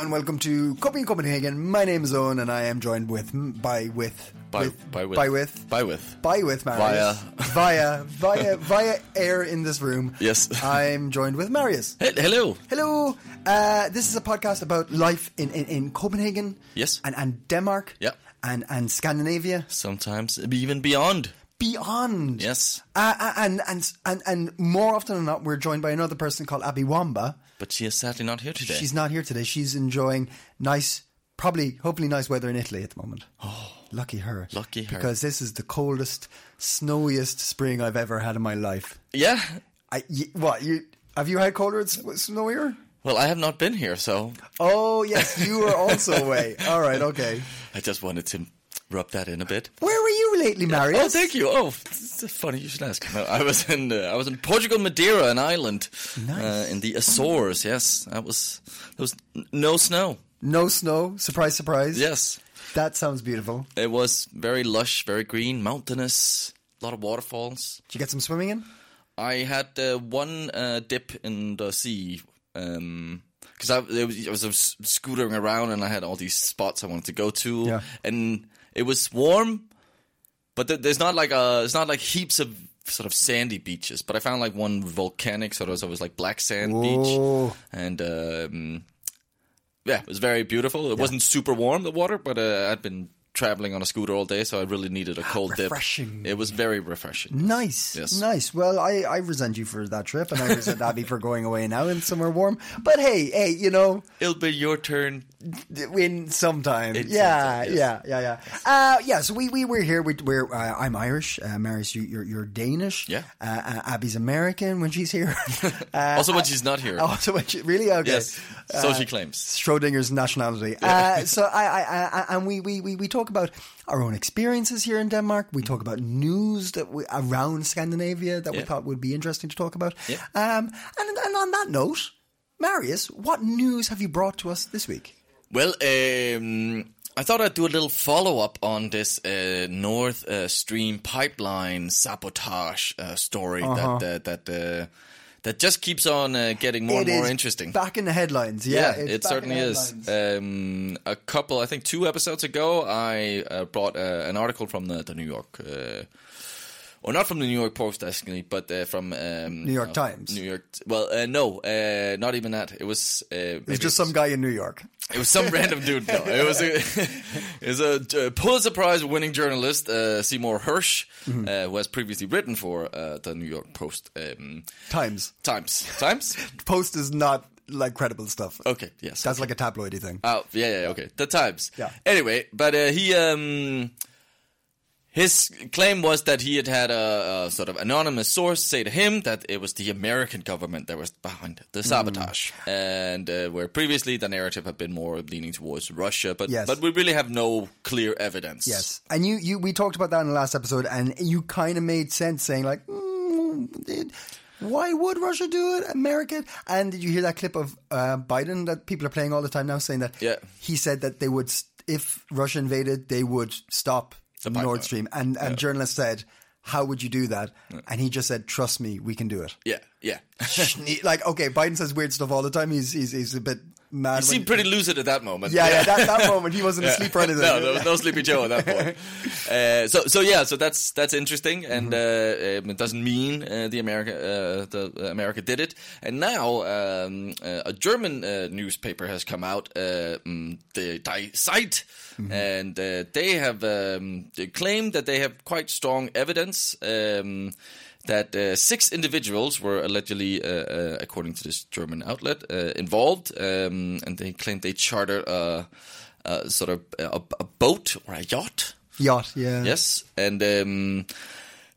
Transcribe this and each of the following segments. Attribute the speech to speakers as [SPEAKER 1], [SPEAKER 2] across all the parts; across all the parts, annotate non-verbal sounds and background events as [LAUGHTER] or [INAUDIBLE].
[SPEAKER 1] and welcome to Copy in Copenhagen. My name is Owen, and I am joined with by with
[SPEAKER 2] By-
[SPEAKER 1] with
[SPEAKER 2] by with.
[SPEAKER 1] by with
[SPEAKER 2] By with.
[SPEAKER 1] by with Marius via via via air in this room.
[SPEAKER 2] Yes.
[SPEAKER 1] [LAUGHS] I'm joined with Marius.
[SPEAKER 2] He- Hello.
[SPEAKER 1] Hello. Uh, this is a podcast about life in in, in Copenhagen.
[SPEAKER 2] Yes.
[SPEAKER 1] and and Denmark.
[SPEAKER 2] Yeah.
[SPEAKER 1] and and Scandinavia
[SPEAKER 2] Sometimes even beyond.
[SPEAKER 1] beyond.
[SPEAKER 2] Yes.
[SPEAKER 1] Uh, uh, and and and and more often than not, we're joined by another person called Abby Wamba.
[SPEAKER 2] But she is sadly not here today.
[SPEAKER 1] She's not here today. She's enjoying nice, probably, hopefully, nice weather in Italy at the moment. Oh, lucky her!
[SPEAKER 2] Lucky her.
[SPEAKER 1] Because this is the coldest, snowiest spring I've ever had in my life.
[SPEAKER 2] yeah.
[SPEAKER 1] I y- what you have you had colder and s- snowier?
[SPEAKER 2] Well, I have not been here, so
[SPEAKER 1] Oh yes, you were
[SPEAKER 2] [LAUGHS]
[SPEAKER 1] also away. All right, okay.
[SPEAKER 2] I just wanted to rub that in a bit.
[SPEAKER 1] Where were you lately, Marius?
[SPEAKER 2] Oh, thank you. Oh, it's funny you should ask. No, I was in uh, I was in Portugal, Madeira, an island uh,
[SPEAKER 1] Nice.
[SPEAKER 2] in the Azores. Yes, that was there was n- no snow.
[SPEAKER 1] No snow. Surprise, surprise.
[SPEAKER 2] Yes,
[SPEAKER 1] that sounds beautiful.
[SPEAKER 2] it was very lush, very green, mountainous, a lot of waterfalls.
[SPEAKER 1] Did you get some swimming in?
[SPEAKER 2] I had uh, one uh, dip in the sea because I, I was, I was s- scootering around and I had all these spots I wanted to go to,
[SPEAKER 1] Yeah.
[SPEAKER 2] and it was warm, but th- there's not like a it's not like heaps of sort of sandy beaches. But I found like one volcanic, so there was always like black sand
[SPEAKER 1] Whoa.
[SPEAKER 2] beach, and um, yeah, it was very beautiful. It wasn't super warm the water, but uh, I'd been traveling on a scooter all day, so I really needed a cold
[SPEAKER 1] Refreshing. Mm.
[SPEAKER 2] dip. It was very refreshing.
[SPEAKER 1] Nice,
[SPEAKER 2] Yes.
[SPEAKER 1] nice. Well, I, I resent you for that trip, and I resent Abby for going away now in somewhere warm. But hey, hey, you know,
[SPEAKER 2] It'll be your turn.
[SPEAKER 1] in sometime.
[SPEAKER 2] In
[SPEAKER 1] yeah,
[SPEAKER 2] sometime, yes.
[SPEAKER 1] yeah, yeah, yeah, Uh, yeah. So we we were here. We, we're uh, I'm Irish. Uh, Marius, you, you're you're Danish.
[SPEAKER 2] Yeah.
[SPEAKER 1] Uh, uh, Abby's American when she's
[SPEAKER 2] [LAUGHS]
[SPEAKER 1] here. [LAUGHS] uh,
[SPEAKER 2] also, when she's not here.
[SPEAKER 1] also, when she, really [LAUGHS] okay. Uh,
[SPEAKER 2] Yes. So she claims.
[SPEAKER 1] Schrodinger's nationality.
[SPEAKER 2] [LAUGHS]
[SPEAKER 1] Uh, so I, I, I, I and we, we, we, we talk about our own experiences here in Denmark. We talk about news that we, around Scandinavia that we
[SPEAKER 2] Yeah.
[SPEAKER 1] thought would be interesting to talk about.
[SPEAKER 2] Yeah.
[SPEAKER 1] Um, and, and on that note, Marius, what news have you brought to us this week?
[SPEAKER 2] Well, um, I thought I'd do a little follow up on this uh, North uh, Stream pipeline sabotage uh, story that that that, uh, that just keeps on uh, getting more
[SPEAKER 1] Uh-huh. It
[SPEAKER 2] and more
[SPEAKER 1] is
[SPEAKER 2] interesting.
[SPEAKER 1] Back in the headlines. Yeah, it's
[SPEAKER 2] it
[SPEAKER 1] back in
[SPEAKER 2] certainly
[SPEAKER 1] the
[SPEAKER 2] is.
[SPEAKER 1] headlines.
[SPEAKER 2] Um, a couple, I think, two episodes ago, I uh, brought uh, an article from the, the New York, uh, or not from the New York Post, actually, but uh, from um,
[SPEAKER 1] New York
[SPEAKER 2] uh,
[SPEAKER 1] Times.
[SPEAKER 2] New York. Well, uh, no, uh, not even that. It was. Uh,
[SPEAKER 1] It was
[SPEAKER 2] maybe
[SPEAKER 1] just some guy in New York.
[SPEAKER 2] it was some random dude. No, it was a, [LAUGHS] it was a uh, Pulitzer Prize winning journalist, uh, Seymour Hirsch,
[SPEAKER 1] Mm-hmm.
[SPEAKER 2] uh, who has previously written for uh, the New York Post. Um,
[SPEAKER 1] Times
[SPEAKER 2] Times.
[SPEAKER 1] [LAUGHS]
[SPEAKER 2] Times?
[SPEAKER 1] Post is not like credible stuff.
[SPEAKER 2] Okay, yes.
[SPEAKER 1] That's like a tabloidy thing.
[SPEAKER 2] Oh yeah, yeah, okay. The Times.
[SPEAKER 1] Yeah.
[SPEAKER 2] Anyway, but uh, he um his claim was that he had had a, a sort of anonymous source say to him that it was the American government that was behind the
[SPEAKER 1] Hmm.
[SPEAKER 2] sabotage, and uh, where previously the narrative had been more leaning towards Russia, but
[SPEAKER 1] Yes.
[SPEAKER 2] but we really have no clear evidence.
[SPEAKER 1] Yes, and you, you we talked about that in the last episode, and you kind of made sense saying like, mm, it- why would Russia do it, America? And did you hear that clip of uh, Biden that people are playing all the time now, saying that
[SPEAKER 2] Yeah.
[SPEAKER 1] he said that they would, st- if Russia invaded, they would stop Nord
[SPEAKER 2] pipeline.
[SPEAKER 1] Stream, and and journalists said, how would you do that? And he just said, trust me, we can do it.
[SPEAKER 2] Yeah.
[SPEAKER 1] [LAUGHS]
[SPEAKER 2] Yeah.
[SPEAKER 1] Schne- like okay, Biden says weird stuff all the time. He's he's, he's a bit mad.
[SPEAKER 2] He
[SPEAKER 1] when-
[SPEAKER 2] seemed pretty lucid at that moment.
[SPEAKER 1] yeah, yeah. That,
[SPEAKER 2] [LAUGHS]
[SPEAKER 1] that moment, he wasn't asleep or anything.
[SPEAKER 2] No, there was no Sleepy Joe at that point. Uh, so, so yeah, so that's that's interesting, and uh, um, it doesn't mean uh, the America uh, the uh, America did it. And now um, uh, a German uh, newspaper has come out, uh, mm, the Die Zeit, and uh, they have um, they claimed that they have quite strong evidence. Um, that uh, six individuals were allegedly, uh, uh, according to this German outlet, uh, involved, um, and they claimed they chartered a, a sort of a, a boat or a yacht.
[SPEAKER 1] Hmm. Yacht, yeah.
[SPEAKER 2] Yes, and um,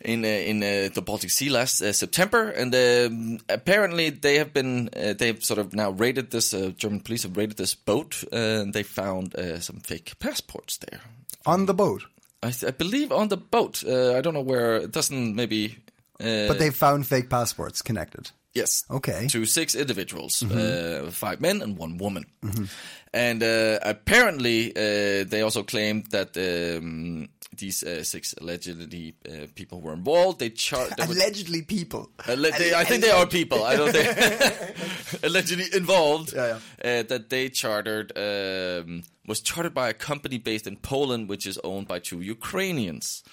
[SPEAKER 2] in uh, in uh, the Baltic Sea last uh, September, and um, apparently they have been uh, they've sort of now raided this uh, German police have raided this boat, uh, and they found uh, some fake passports there.
[SPEAKER 1] on the boat.
[SPEAKER 2] I, th- I believe on the boat. Uh, I don't know where. It doesn't maybe. Uh,
[SPEAKER 1] But they found fake passports connected.
[SPEAKER 2] Yes.
[SPEAKER 1] Okay. Mm-hmm.
[SPEAKER 2] To six individuals, uh, five men and one woman. And uh, apparently, uh, they also claimed that um, these uh, six allegedly uh, people were involved. They charged. [LAUGHS]
[SPEAKER 1] Allegedly, people.
[SPEAKER 2] Alle- they, I think they are people. I don't
[SPEAKER 1] [LAUGHS]
[SPEAKER 2] think [LAUGHS] allegedly involved
[SPEAKER 1] Yeah,
[SPEAKER 2] Uh, that they chartered um, was chartered by a company based in Poland, which is owned by two Ukrainians.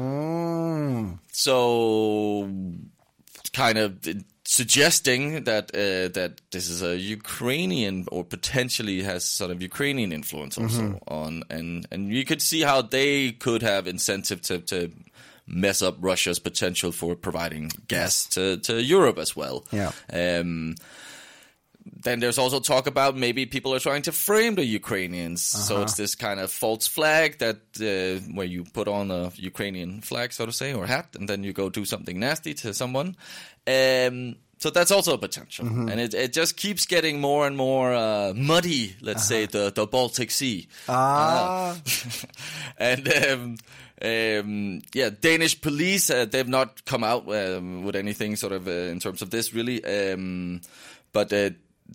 [SPEAKER 1] Mm.
[SPEAKER 2] So, kind of suggesting that uh, that this is a Ukrainian or potentially has sort of Ukrainian influence also on and and you could see how they could have incentive to. to Mess up Russia's potential for providing gas to, to Europe as well.
[SPEAKER 1] Yeah.
[SPEAKER 2] Um, then there's also talk about maybe people are trying to frame the Ukrainians. So it's this kind of false flag that uh, where you put on a Ukrainian flag, so to say, or hat, and then you go do something nasty to someone. Um, so that's also a potential, and it, it just keeps getting more and more uh, muddy. Let's say the the Baltic Sea.
[SPEAKER 1] Ah,
[SPEAKER 2] [LAUGHS] and um, um, yeah, Danish police uh, they've not come out um, with anything sort of uh, in terms of this really, um, but. Uh,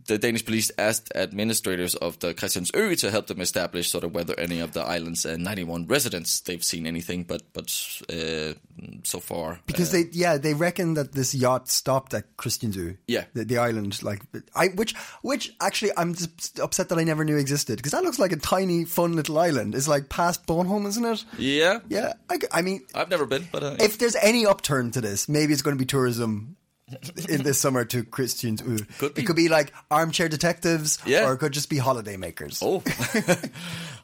[SPEAKER 2] the Danish police asked administrators of the Christiansø to help them establish sort of whether any of the island's uh, 91 residents they've seen anything, but but uh, so far
[SPEAKER 1] because they yeah they reckon that this yacht stopped at Christiansø.
[SPEAKER 2] Yeah.
[SPEAKER 1] the, the island like I which which actually I'm just upset that I never knew existed because that looks like a tiny fun little island. It's like past Bornholm, isn't it?
[SPEAKER 2] yeah
[SPEAKER 1] Yeah, I, g- I mean
[SPEAKER 2] I've never been, but uh,
[SPEAKER 1] if there's any upturn to this, maybe it's going to be tourism in this summer to Christians.
[SPEAKER 2] Could be.
[SPEAKER 1] It could be like armchair detectives,
[SPEAKER 2] Yeah.
[SPEAKER 1] or it could just be holidaymakers.
[SPEAKER 2] Oh,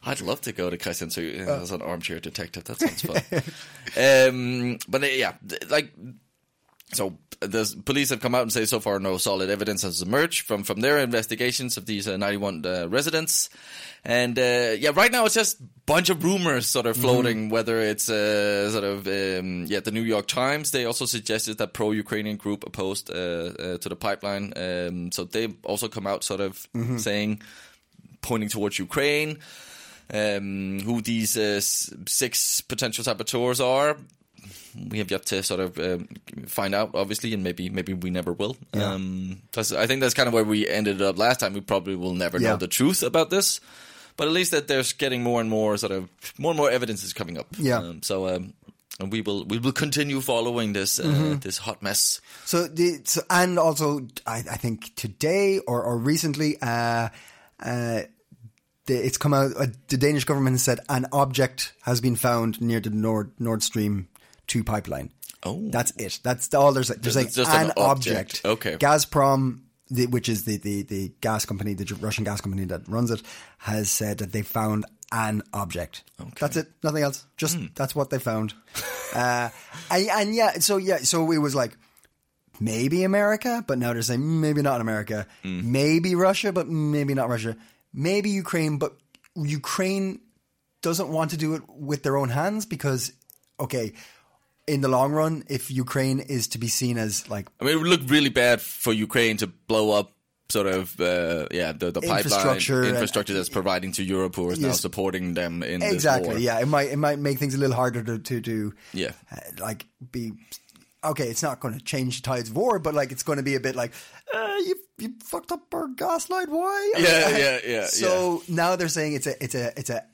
[SPEAKER 2] I'd love to go to Christiansø as an armchair detective. That sounds fun. um, but uh, yeah, th- like so, the s- police have come out and say so far no solid evidence has emerged from from their investigations of these uh, 91 uh, residents. And uh, yeah, right now it's just bunch of rumors sort of floating. Whether it's uh, sort of um, yeah, the New York Times they also suggested that pro-Ukrainian group opposed uh, uh, to the pipeline. Um, so they also come out sort of saying pointing towards Ukraine, um, who these uh, s- six potential saboteurs are. We have yet to sort of um, find out, obviously, and maybe maybe we never will. Um, that's- I think that's kind of where we ended up last time. We probably will never know
[SPEAKER 1] Yeah.
[SPEAKER 2] the truth about this, but at least that there's getting more and more sort of more and more evidence is coming up.
[SPEAKER 1] Yeah.
[SPEAKER 2] Um, so um, and we will we will continue following this uh,
[SPEAKER 1] Mm-hmm.
[SPEAKER 2] this hot mess.
[SPEAKER 1] So the so, and also I, I think today or or recently, uh, uh, the, it's come out. Uh, the Danish government has said an object has been found near the Nord Nord Stream two pipeline.
[SPEAKER 2] Oh.
[SPEAKER 1] that's it. That's all they're saying. They're saying
[SPEAKER 2] It's just
[SPEAKER 1] an,
[SPEAKER 2] an
[SPEAKER 1] object.
[SPEAKER 2] object. Okay.
[SPEAKER 1] Gazprom. The, which is the, the, the gas company, the Russian gas company that runs it, has said that they found an object. That's it, nothing else. Just
[SPEAKER 2] Hmm.
[SPEAKER 1] that's what they found. [LAUGHS] uh, and, and yeah, so yeah, so it was like maybe America, but now they're saying maybe not America, maybe Russia, but maybe not Russia, maybe Ukraine, but Ukraine doesn't want to do it with their own hands because, okay, in the long run, if Ukraine is to be seen as like
[SPEAKER 2] I mean, it would look really bad for Ukraine to blow up sort of uh, yeah the, the
[SPEAKER 1] Infrastructure and-
[SPEAKER 2] pipeline infrastructure that's providing to Europe, who is now supporting them in
[SPEAKER 1] exactly,
[SPEAKER 2] This war.
[SPEAKER 1] yeah, it might it might make things a little harder to to do,
[SPEAKER 2] Yeah.
[SPEAKER 1] uh, like be. Okay, it's not going to change the tides of war, but like it's going to be a bit like uh, you you fucked up our gas light. Why? [LAUGHS]
[SPEAKER 2] Yeah, yeah, yeah,
[SPEAKER 1] So now they're saying it's a it's a it's a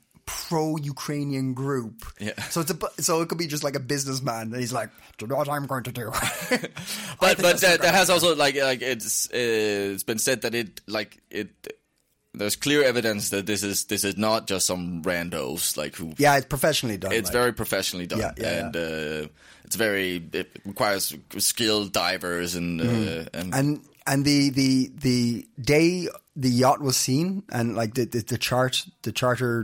[SPEAKER 1] pro-Ukrainian group.
[SPEAKER 2] Yeah.
[SPEAKER 1] So it's a bu- so it could be just like a businessman that he's like, do you know what I'm going to do. [LAUGHS]
[SPEAKER 2] but but that, that has also like like it's uh, it's been said that it like it there's clear evidence that this is this is not just some randos like who
[SPEAKER 1] yeah, it's professionally done.
[SPEAKER 2] It's
[SPEAKER 1] like.
[SPEAKER 2] very professionally done,
[SPEAKER 1] Yeah, yeah,
[SPEAKER 2] and Uh, it's very. It requires skilled divers and uh,
[SPEAKER 1] Mm-hmm.
[SPEAKER 2] and,
[SPEAKER 1] and and the the the day the yacht was seen and like the the, the chart the charter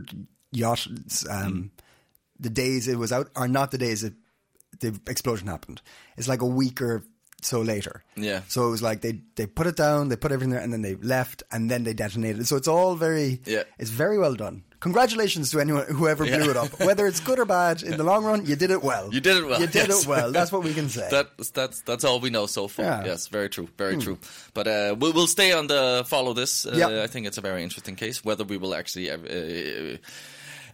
[SPEAKER 1] yacht
[SPEAKER 2] Hmm.
[SPEAKER 1] um the days it was out are not the days that the explosion happened it's like a week or so later.
[SPEAKER 2] Yeah.
[SPEAKER 1] So it was like they they put it down, they put everything there, and then they left, and then they detonated. it. So it's all very
[SPEAKER 2] Yeah.
[SPEAKER 1] It's very well done. Congratulations to anyone whoever blew
[SPEAKER 2] Yeah.
[SPEAKER 1] it up. Whether it's good or bad, in the long run, you did it well.
[SPEAKER 2] You did it well,
[SPEAKER 1] You did
[SPEAKER 2] yes.
[SPEAKER 1] it well. That's what we
[SPEAKER 2] [LAUGHS]
[SPEAKER 1] can say.
[SPEAKER 2] That's that's that's all we know so far.
[SPEAKER 1] Yeah. Hmm.
[SPEAKER 2] Yes, very true, very true. But uh, we will stay on the follow this. Uh,
[SPEAKER 1] Yeah.
[SPEAKER 2] I think it's a very interesting case. Whether we will actually uh, uh,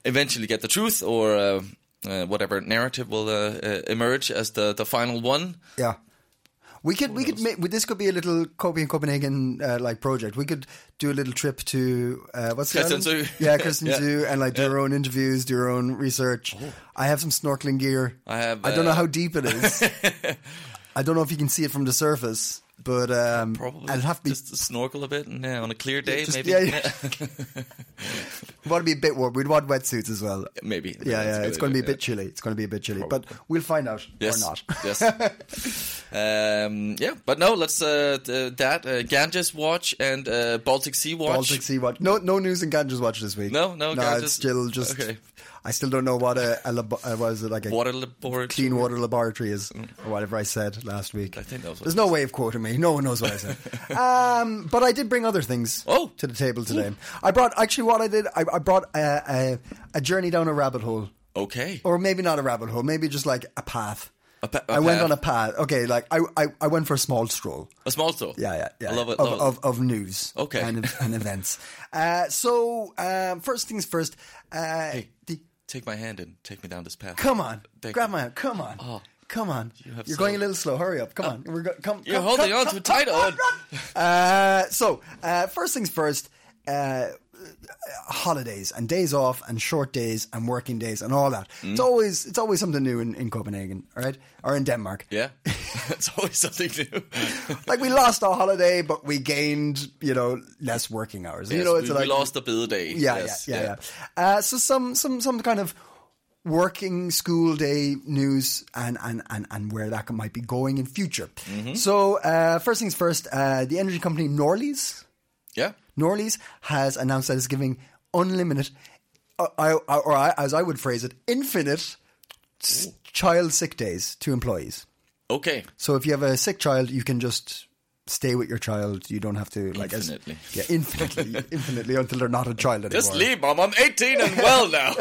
[SPEAKER 2] eventually get the truth or uh, uh, whatever narrative will uh, uh, emerge as the the final one.
[SPEAKER 1] Yeah. We could we could make this could be a little Kobe and Copenhagen uh, like project. We could do a little trip to uh, what's the
[SPEAKER 2] Christiansø.
[SPEAKER 1] island? yeah Christian
[SPEAKER 2] [LAUGHS] Yeah. Oh.
[SPEAKER 1] Zoo and like do our own interviews, do our own research. I have some snorkeling gear.
[SPEAKER 2] I have,
[SPEAKER 1] I don't know
[SPEAKER 2] uh,
[SPEAKER 1] how deep it
[SPEAKER 2] [LAUGHS]
[SPEAKER 1] is. I don't know if you can see it from the surface, but um,
[SPEAKER 2] Probably
[SPEAKER 1] I'll have to be.
[SPEAKER 2] just snorkel a bit and, uh, on a clear day,
[SPEAKER 1] just-
[SPEAKER 2] maybe.
[SPEAKER 1] yeah, yeah. want to be a bit warm. We'd want wetsuits as well.
[SPEAKER 2] [LAUGHS] maybe.
[SPEAKER 1] [LAUGHS] Yeah,
[SPEAKER 2] That's
[SPEAKER 1] yeah.
[SPEAKER 2] a
[SPEAKER 1] It's
[SPEAKER 2] good
[SPEAKER 1] going to be
[SPEAKER 2] idea.
[SPEAKER 1] a bit chilly. It's going to be a bit chilly, but we'll find out
[SPEAKER 2] Yes.
[SPEAKER 1] or not. [LAUGHS]
[SPEAKER 2] yes. Um, yeah, but no, let's uh, th- that uh, Ganges watch and uh, Baltic Sea watch.
[SPEAKER 1] Baltic Sea Watch. No, no news in Ganges Watch this week.
[SPEAKER 2] No, no
[SPEAKER 1] no.
[SPEAKER 2] Ganges-
[SPEAKER 1] It's still just.
[SPEAKER 2] okay.
[SPEAKER 1] I still don't know what a, a labo- uh, what is it like a
[SPEAKER 2] water laboratory. Mm.
[SPEAKER 1] clean water laboratory is or whatever I said last week. I
[SPEAKER 2] think that was what
[SPEAKER 1] There's
[SPEAKER 2] you
[SPEAKER 1] no way of quoting me. No one knows what I
[SPEAKER 2] [LAUGHS]
[SPEAKER 1] said. um, but I did bring other things
[SPEAKER 2] Oh.
[SPEAKER 1] to the table today. I brought actually what I did. I, I brought a, a, a journey down a rabbit hole,
[SPEAKER 2] Okay.
[SPEAKER 1] or maybe not a rabbit hole. Maybe just like a path.
[SPEAKER 2] A pa- a
[SPEAKER 1] I went
[SPEAKER 2] path.
[SPEAKER 1] on a path. Okay, like I, I, I went for a small stroll.
[SPEAKER 2] a small store.
[SPEAKER 1] Yeah, yeah, yeah.
[SPEAKER 2] I love it.
[SPEAKER 1] Of,
[SPEAKER 2] love it.
[SPEAKER 1] of, of news.
[SPEAKER 2] Okay.
[SPEAKER 1] And,
[SPEAKER 2] [LAUGHS]
[SPEAKER 1] and events. Uh, so, um, first things first. Uh, the,
[SPEAKER 2] Take my hand and take me down this path.
[SPEAKER 1] come on.
[SPEAKER 2] Thank
[SPEAKER 1] grab
[SPEAKER 2] you. Oh.
[SPEAKER 1] my Come on. Come on. You
[SPEAKER 2] have
[SPEAKER 1] are
[SPEAKER 2] so- Uh,
[SPEAKER 1] going a little slow. Hurry up. Come on. We're go- come,
[SPEAKER 2] You're
[SPEAKER 1] come,
[SPEAKER 2] holding
[SPEAKER 1] come,
[SPEAKER 2] on
[SPEAKER 1] come,
[SPEAKER 2] too tight.
[SPEAKER 1] come,
[SPEAKER 2] On.
[SPEAKER 1] come, come. Uh, so, uh, first things first. Uh, holidays and days off and short days and working days and all that. It's
[SPEAKER 2] Mm.
[SPEAKER 1] always it's always something new in, in Copenhagen, all right? Or in Denmark.
[SPEAKER 2] Yeah, [LAUGHS] it's always something
[SPEAKER 1] [LAUGHS]
[SPEAKER 2] new.
[SPEAKER 1] Like we lost our holiday but we gained, you know, less working hours. you
[SPEAKER 2] Yes,
[SPEAKER 1] know,
[SPEAKER 2] we,
[SPEAKER 1] it's
[SPEAKER 2] we
[SPEAKER 1] like
[SPEAKER 2] lost the bill day.
[SPEAKER 1] yeah,
[SPEAKER 2] yes,
[SPEAKER 1] yeah, yeah, yeah. Uh, so some some some kind of working school day news and and and, and where that might be going in future.
[SPEAKER 2] Mm-hmm.
[SPEAKER 1] So uh, first things first, uh, the energy company Norlys
[SPEAKER 2] yeah.
[SPEAKER 1] Norlys has announced that it's giving unlimited, uh, I, I- or I, as I would phrase it, infinite s- child sick days to employees.
[SPEAKER 2] Okay.
[SPEAKER 1] So if you have a sick child, you can just stay with your child. You don't have to like as-
[SPEAKER 2] Infinitely.
[SPEAKER 1] yeah,
[SPEAKER 2] [LAUGHS]
[SPEAKER 1] infinitely, infinitely until they're not a child anymore
[SPEAKER 2] Just leave, mom. I'm 18
[SPEAKER 1] [LAUGHS]
[SPEAKER 2] and well now.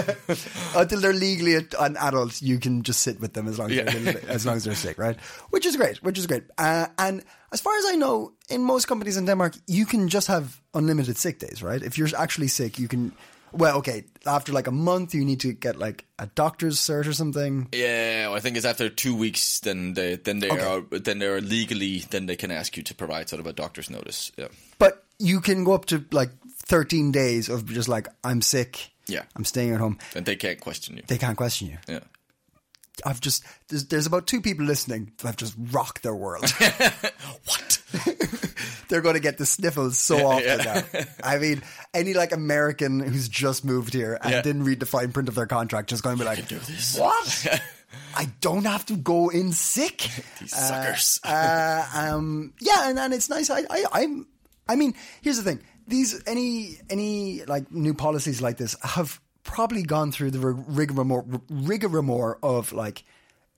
[SPEAKER 1] until they're legally a- an adult, you can just sit with them as long as,
[SPEAKER 2] Yeah.
[SPEAKER 1] they're, as long as they're sick, right? Which is great, which is great. Uh, and as far as I know, in most companies in Denmark, you can just have unlimited sick days, right? If you're actually sick, you can. Well, okay, after like a month, you need to get like a doctor's cert or something.
[SPEAKER 2] yeah, well, I think it's after two weeks. Then they then they are then they are legally then they can ask you to provide sort of a doctor's notice. Yeah.
[SPEAKER 1] But you can go up to like 13 days of just like I'm sick.
[SPEAKER 2] Yeah.
[SPEAKER 1] I'm staying at home.
[SPEAKER 2] And they can't question you.
[SPEAKER 1] They can't question you.
[SPEAKER 2] yeah.
[SPEAKER 1] I've just there's, there's about two people listening that have just rocked their world. [LAUGHS]
[SPEAKER 2] What?
[SPEAKER 1] they're going to get the sniffles so often now. I mean, any like American who's just moved here and
[SPEAKER 2] Yeah.
[SPEAKER 1] didn't read the fine print of their contract is going to be like, "What? I don't have to go in sick."
[SPEAKER 2] These suckers.
[SPEAKER 1] uh, um, yeah, and, and it's nice. I, I I'm I mean, here's the thing: these any any like new policies like this have probably gone through the rig- rigmarole rigmarole of like,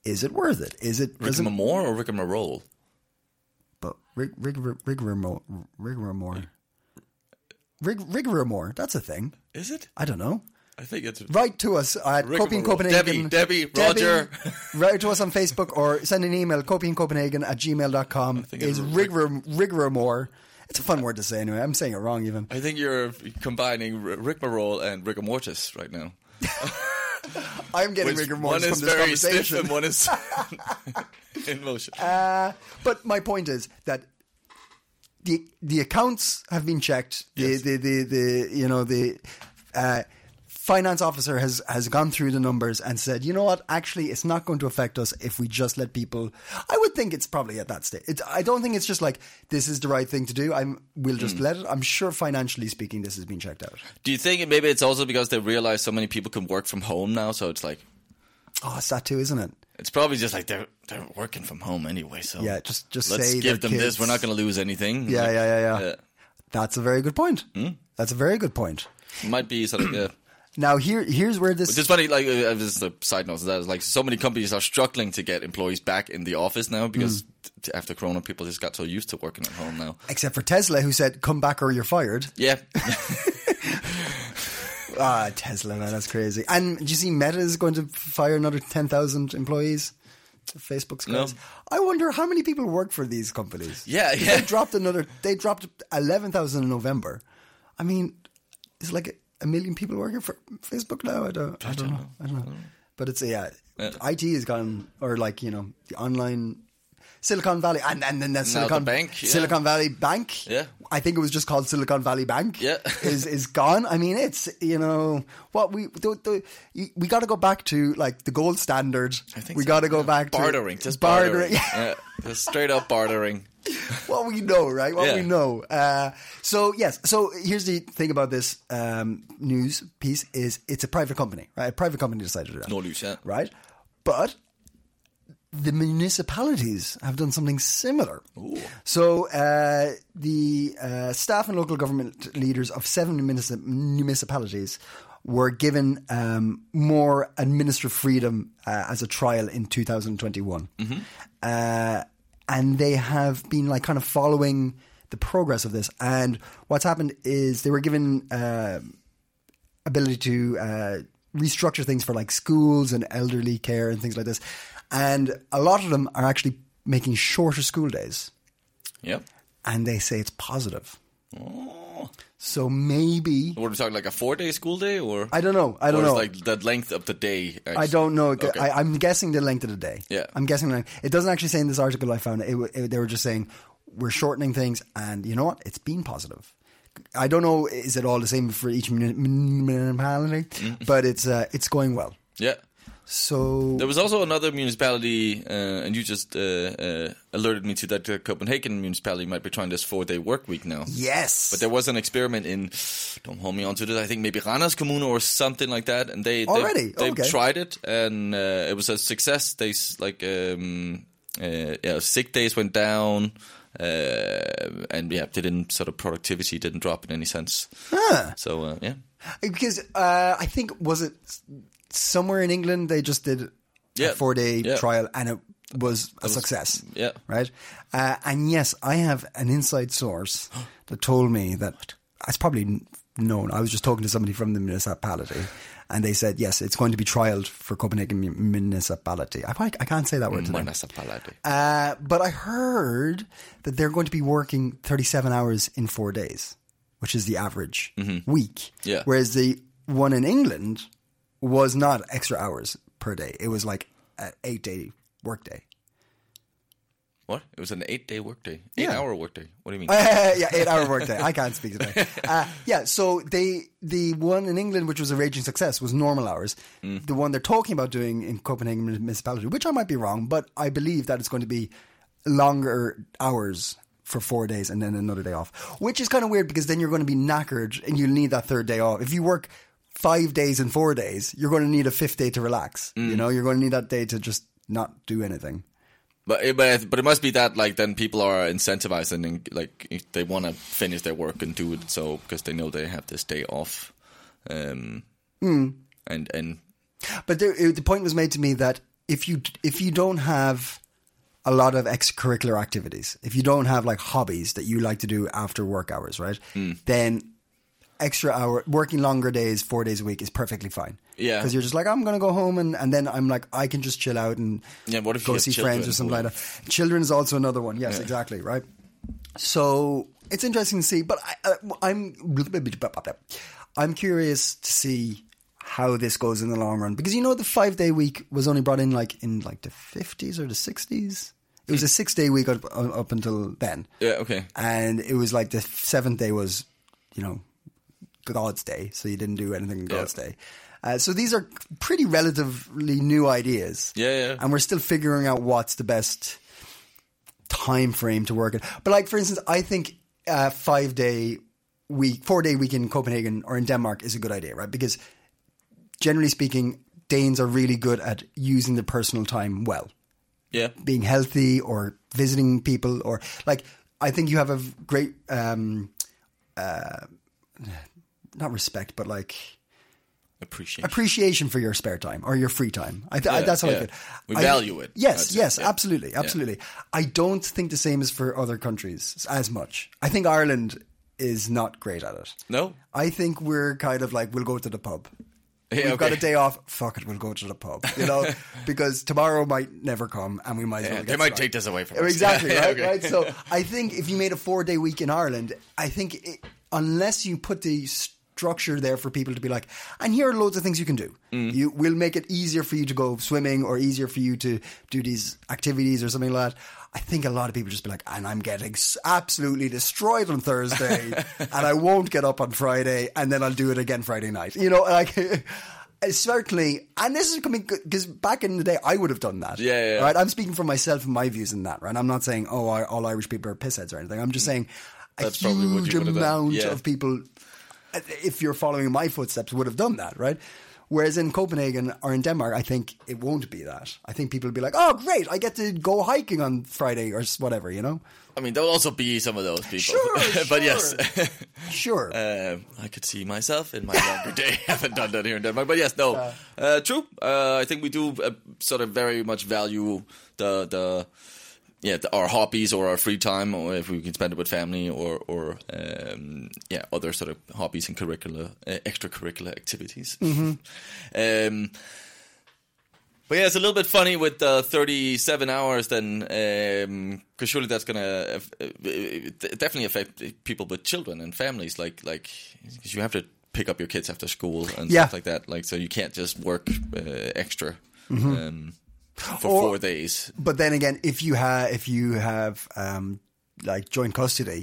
[SPEAKER 1] is it worth it? Is it does it
[SPEAKER 2] Rigmarole or rigmarole?
[SPEAKER 1] but rig, rig, rig, rigmarole,
[SPEAKER 2] [LAUGHS]
[SPEAKER 1] rigmarole, rig, rigmarole. That's a thing.
[SPEAKER 2] Is it?
[SPEAKER 1] I don't know.
[SPEAKER 2] I think it's
[SPEAKER 1] Write to us at Copy in
[SPEAKER 2] Rigmarole.
[SPEAKER 1] Copenhagen.
[SPEAKER 2] Debbie, Debbie, Roger.
[SPEAKER 1] [LAUGHS] write to us on Facebook or send an email, copyincopenhagen at gmail.com.
[SPEAKER 2] think it's
[SPEAKER 1] Is
[SPEAKER 2] rig-
[SPEAKER 1] rigmarole. rigmarole. It's a fun word to say anyway. I'm saying it wrong even.
[SPEAKER 2] I think you're combining r- rigmarole and rigor mortis right now.
[SPEAKER 1] I'm getting
[SPEAKER 2] Which
[SPEAKER 1] rigor
[SPEAKER 2] one
[SPEAKER 1] mortis from
[SPEAKER 2] is
[SPEAKER 1] this
[SPEAKER 2] very stiff
[SPEAKER 1] conversation.
[SPEAKER 2] and one
[SPEAKER 1] [LAUGHS]
[SPEAKER 2] is [LAUGHS] in motion.
[SPEAKER 1] But my point is that the the accounts have been checked. The
[SPEAKER 2] Yes.
[SPEAKER 1] the, the the you know the uh, finance officer has has gone through the numbers and said, you know what? Actually, it's not going to affect us if we just let people. I would think it's probably at that stage. It's, I don't think it's just like this is the right thing to do. I'm we'll just
[SPEAKER 2] Hmm.
[SPEAKER 1] let it. I'm sure financially speaking, this has been checked out.
[SPEAKER 2] Do you think maybe it's also because they realize so many people can work from home now? So it's like
[SPEAKER 1] Oh, it's that too, isn't it?
[SPEAKER 2] it's probably just like they're they're working from home anyway. So
[SPEAKER 1] Yeah, just just
[SPEAKER 2] Oh. let's
[SPEAKER 1] say
[SPEAKER 2] give
[SPEAKER 1] their
[SPEAKER 2] them
[SPEAKER 1] kids-
[SPEAKER 2] this. We're not going to lose anything.
[SPEAKER 1] Yeah,
[SPEAKER 2] Like, Hmm?
[SPEAKER 1] yeah, yeah, yeah. That's a very good point. That's a very good point.
[SPEAKER 2] Might be sort of yeah.
[SPEAKER 1] Now here here's where this.
[SPEAKER 2] It's just funny, like uh, this is a side note. to That is like so many companies are struggling to get employees back in the office now
[SPEAKER 1] Hmm.
[SPEAKER 2] because t- after Corona, people just got so used to working at home now.
[SPEAKER 1] Except for Tesla, who said, "Come back or you're fired."
[SPEAKER 2] Yeah,
[SPEAKER 1] Ah, Tesla, man, that's crazy. And do you see Meta is going to fire another 10,000 employees? Facebook's
[SPEAKER 2] No.
[SPEAKER 1] guys. I wonder how many people work for these companies.
[SPEAKER 2] Yeah,
[SPEAKER 1] They
[SPEAKER 2] yeah.
[SPEAKER 1] dropped another, they dropped 11,000 in November. I mean, it's like a, a million people working for Facebook now. I don't, I don't know. I don't know. But it's, yeah, IT has gone, or like, you know, the online. Silicon Valley, and, and then the Silicon
[SPEAKER 2] bank, yeah.
[SPEAKER 1] Silicon Valley Bank.
[SPEAKER 2] Yeah.
[SPEAKER 1] I think it was just called Silicon Valley Bank
[SPEAKER 2] Yeah.
[SPEAKER 1] [LAUGHS] is is gone. I mean, it's you know what we the, the, you- we got to go back to like the gold standard. I
[SPEAKER 2] think
[SPEAKER 1] we
[SPEAKER 2] so.
[SPEAKER 1] got to go
[SPEAKER 2] Yeah.
[SPEAKER 1] back
[SPEAKER 2] bartering,
[SPEAKER 1] to
[SPEAKER 2] just bartering,
[SPEAKER 1] [LAUGHS]
[SPEAKER 2] yeah, just straight up bartering.
[SPEAKER 1] what we know, right? What
[SPEAKER 2] Yeah.
[SPEAKER 1] we know. Uh, so yes, so here's the thing about this um, news piece: is it's a private company, right? A private company decided that,
[SPEAKER 2] No loose, yeah.
[SPEAKER 1] right? But the municipalities have done something similar. So uh, the uh, staff and local government leaders of seven munici- municipalities were given um, more administrative freedom uh, as a trial in 2021. Uh, and they have been like kind of following the progress of this. And what's happened is they were given uh, ability to uh, restructure things for like schools and elderly care and things like this. And a lot of them are actually making shorter school days,
[SPEAKER 2] Yep.
[SPEAKER 1] and they say it's positive.
[SPEAKER 2] Oh.
[SPEAKER 1] So maybe
[SPEAKER 2] What are we talking like a four day school day or
[SPEAKER 1] I don't know. I don't
[SPEAKER 2] or
[SPEAKER 1] know.
[SPEAKER 2] It's like the length of the day.
[SPEAKER 1] I don't know.
[SPEAKER 2] Okay.
[SPEAKER 1] I, I'm guessing the length of the day.
[SPEAKER 2] Yeah.
[SPEAKER 1] I'm guessing. the length. It doesn't actually say in this article I found. It, it, wa- it- they were just saying we're shortening things, and you know what? It's been positive. I don't know. Is it all the same for each muni- municipality?
[SPEAKER 2] Mm.
[SPEAKER 1] But it's uh, it's going well.
[SPEAKER 2] Yeah.
[SPEAKER 1] So
[SPEAKER 2] There was also another municipality, uh, and you just uh, uh, alerted me to that the Copenhagen municipality might be trying this four day work week now.
[SPEAKER 1] yes,
[SPEAKER 2] But there was an experiment in, don't hold me onto this. I think maybe Ranas Kommune or something like that, and they
[SPEAKER 1] Already?
[SPEAKER 2] they, they
[SPEAKER 1] Okay.
[SPEAKER 2] tried it and uh, it was a success. They s- like um, uh, yeah, sick days went down, uh, and yeah, they didn't sort of productivity didn't drop in any sense. So uh, yeah,
[SPEAKER 1] because uh, I think was it somewhere in England they just did
[SPEAKER 2] Yeah.
[SPEAKER 1] a four day
[SPEAKER 2] Yeah.
[SPEAKER 1] trial and it was a success.
[SPEAKER 2] yeah.
[SPEAKER 1] right. Uh, and yes, I have an inside
[SPEAKER 2] [GASPS]
[SPEAKER 1] source that told me that it's probably n- known. I was just talking to somebody from the municipality. And they said yes, it's going to be trialed for Copenhagen mu- municipality. I, probably- I can't say that word. today.
[SPEAKER 2] municipality.
[SPEAKER 1] Uh, but I heard that they're going to be working 37 hours in four days, which is the average week.
[SPEAKER 2] Yeah.
[SPEAKER 1] Whereas the one in England was not extra hours per day. It was like an eight day workday.
[SPEAKER 2] What? It was an eight day workday, eight hour workday. What do you mean?
[SPEAKER 1] [LAUGHS] yeah, eight hour workday. I can't speak today. Uh, yeah, so they the one in England, which was a raging success, was normal hours. The one they're talking about doing in Copenhagen municipality, which I might be wrong, but I believe that it's going to be longer hours for four days and then another day off, which is kind of weird because then you're going to be knackered and you need that third day off. If you work five days and four days, you're going to need a fifth day to relax. You know, you're going to need that day to just not do anything.
[SPEAKER 2] But it- but it- but it must be that like then people are incentivized and then, like they want to finish their work and do it so because they know they have this day off, um,
[SPEAKER 1] Hmm.
[SPEAKER 2] and and
[SPEAKER 1] But there, it, the point was made to me that if you if you don't have a lot of extracurricular activities, if you don't have like hobbies that you like to do after work hours, right?
[SPEAKER 2] Hmm.
[SPEAKER 1] Then extra hour working longer days, four days a week is perfectly fine.
[SPEAKER 2] Yeah.
[SPEAKER 1] because you're just like I'm gonna go home and and then I'm like I can just chill out and
[SPEAKER 2] Yeah, what if you
[SPEAKER 1] go
[SPEAKER 2] have
[SPEAKER 1] see
[SPEAKER 2] children
[SPEAKER 1] friends or something
[SPEAKER 2] who-
[SPEAKER 1] like that. Children is also another one. Yes, exactly. Right. So it's interesting to see, but I, I, I'm I'm curious to see how this goes in the long run because you know the five day week was only brought in like in like the 50s or the 60s. It was a six day week up, up until then,
[SPEAKER 2] yeah okay
[SPEAKER 1] and it was like the seventh day was, you know, God's day, so you didn't do anything on God's day. Uh, so these are pretty relatively new ideas
[SPEAKER 2] yeah yeah
[SPEAKER 1] and we're still figuring out what's the best time frame to work it. But like for instance, I think uh, five day week, four day week in Copenhagen or in Denmark is a good idea, right? Because generally speaking, Danes are really good at using their personal time well,
[SPEAKER 2] yeah
[SPEAKER 1] being healthy or visiting people or like. I think you have a v- great, um, uh, not respect, but like
[SPEAKER 2] Appreciation.
[SPEAKER 1] appreciation for your spare time or your free time. I, th- I,
[SPEAKER 2] Yeah,
[SPEAKER 1] that's how I
[SPEAKER 2] yeah.
[SPEAKER 1] could.
[SPEAKER 2] We
[SPEAKER 1] I-
[SPEAKER 2] value it, I'd
[SPEAKER 1] Yes,
[SPEAKER 2] say,
[SPEAKER 1] yes,
[SPEAKER 2] yeah.
[SPEAKER 1] absolutely, absolutely. I don't think the same is for other countries as much. I think Ireland is not great at it.
[SPEAKER 2] No?
[SPEAKER 1] I think we're kind of like we'll go to the pub.
[SPEAKER 2] Yeah,
[SPEAKER 1] We've got
[SPEAKER 2] okay.
[SPEAKER 1] a day off. Fuck it, we'll go to the pub. You
[SPEAKER 2] [LAUGHS]
[SPEAKER 1] know, because tomorrow might never come, and we might. as well
[SPEAKER 2] Yeah,
[SPEAKER 1] get
[SPEAKER 2] they might
[SPEAKER 1] started.
[SPEAKER 2] take this away from [LAUGHS] us.
[SPEAKER 1] Exactly
[SPEAKER 2] Yeah,
[SPEAKER 1] right.
[SPEAKER 2] okay.
[SPEAKER 1] Right. So I think if you made a four-day week in Ireland, I think it, unless you put the structure there for people to be like, and here are loads of things you can do.
[SPEAKER 2] Mm.
[SPEAKER 1] You will make it easier for you to go swimming or easier for you to do these activities or something like that. I think a lot of people just be like, and I'm getting s- absolutely destroyed on
[SPEAKER 2] [LAUGHS]
[SPEAKER 1] Thursday, and I won't get up on Friday, and then I'll do it again Friday night. You know, like. [LAUGHS] uh, Certainly, and this is coming because back in the day, I would have done that.
[SPEAKER 2] Yeah, yeah, yeah.
[SPEAKER 1] right. I'm speaking for myself and my views in that, right? I'm not saying, oh, I, all Irish people are pissheads or anything. I'm just saying a
[SPEAKER 2] Mm. That's probably what
[SPEAKER 1] huge
[SPEAKER 2] you would have done.
[SPEAKER 1] amount
[SPEAKER 2] Yeah.
[SPEAKER 1] of people, if you're following my footsteps, would have done that, right? Whereas in Copenhagen or in Denmark, I think it won't be that. I think people will be like, oh, great, I get to go hiking on Friday or s- whatever, you know?
[SPEAKER 2] I mean, there will also be some of those people.
[SPEAKER 1] Sure,
[SPEAKER 2] [LAUGHS] but yes,
[SPEAKER 1] Sure.
[SPEAKER 2] [LAUGHS] um, I could see myself in my
[SPEAKER 1] [LAUGHS]
[SPEAKER 2] younger day. [LAUGHS] I haven't done that here in Denmark. But yes, no. Uh, true. Uh, I think we do uh, sort of very much value the the. Yeah, the, our hobbies or our free time, or if we can spend it with family, or or um, yeah, other sort of hobbies and curricular, uh, extracurricular activities.
[SPEAKER 1] Mm-hmm.
[SPEAKER 2] [LAUGHS] um, But yeah, it's a little bit funny with uh, 37 hours then, because surely that's gonna uh, uh, definitely affect people with children and families, like like 'cause you have to pick up your kids after school and
[SPEAKER 1] Yeah.
[SPEAKER 2] stuff like that. Like, so you can't just work uh, extra um, for
[SPEAKER 1] Mm-hmm. Or-
[SPEAKER 2] four days.
[SPEAKER 1] But then again, if you have if you have um, like joint custody,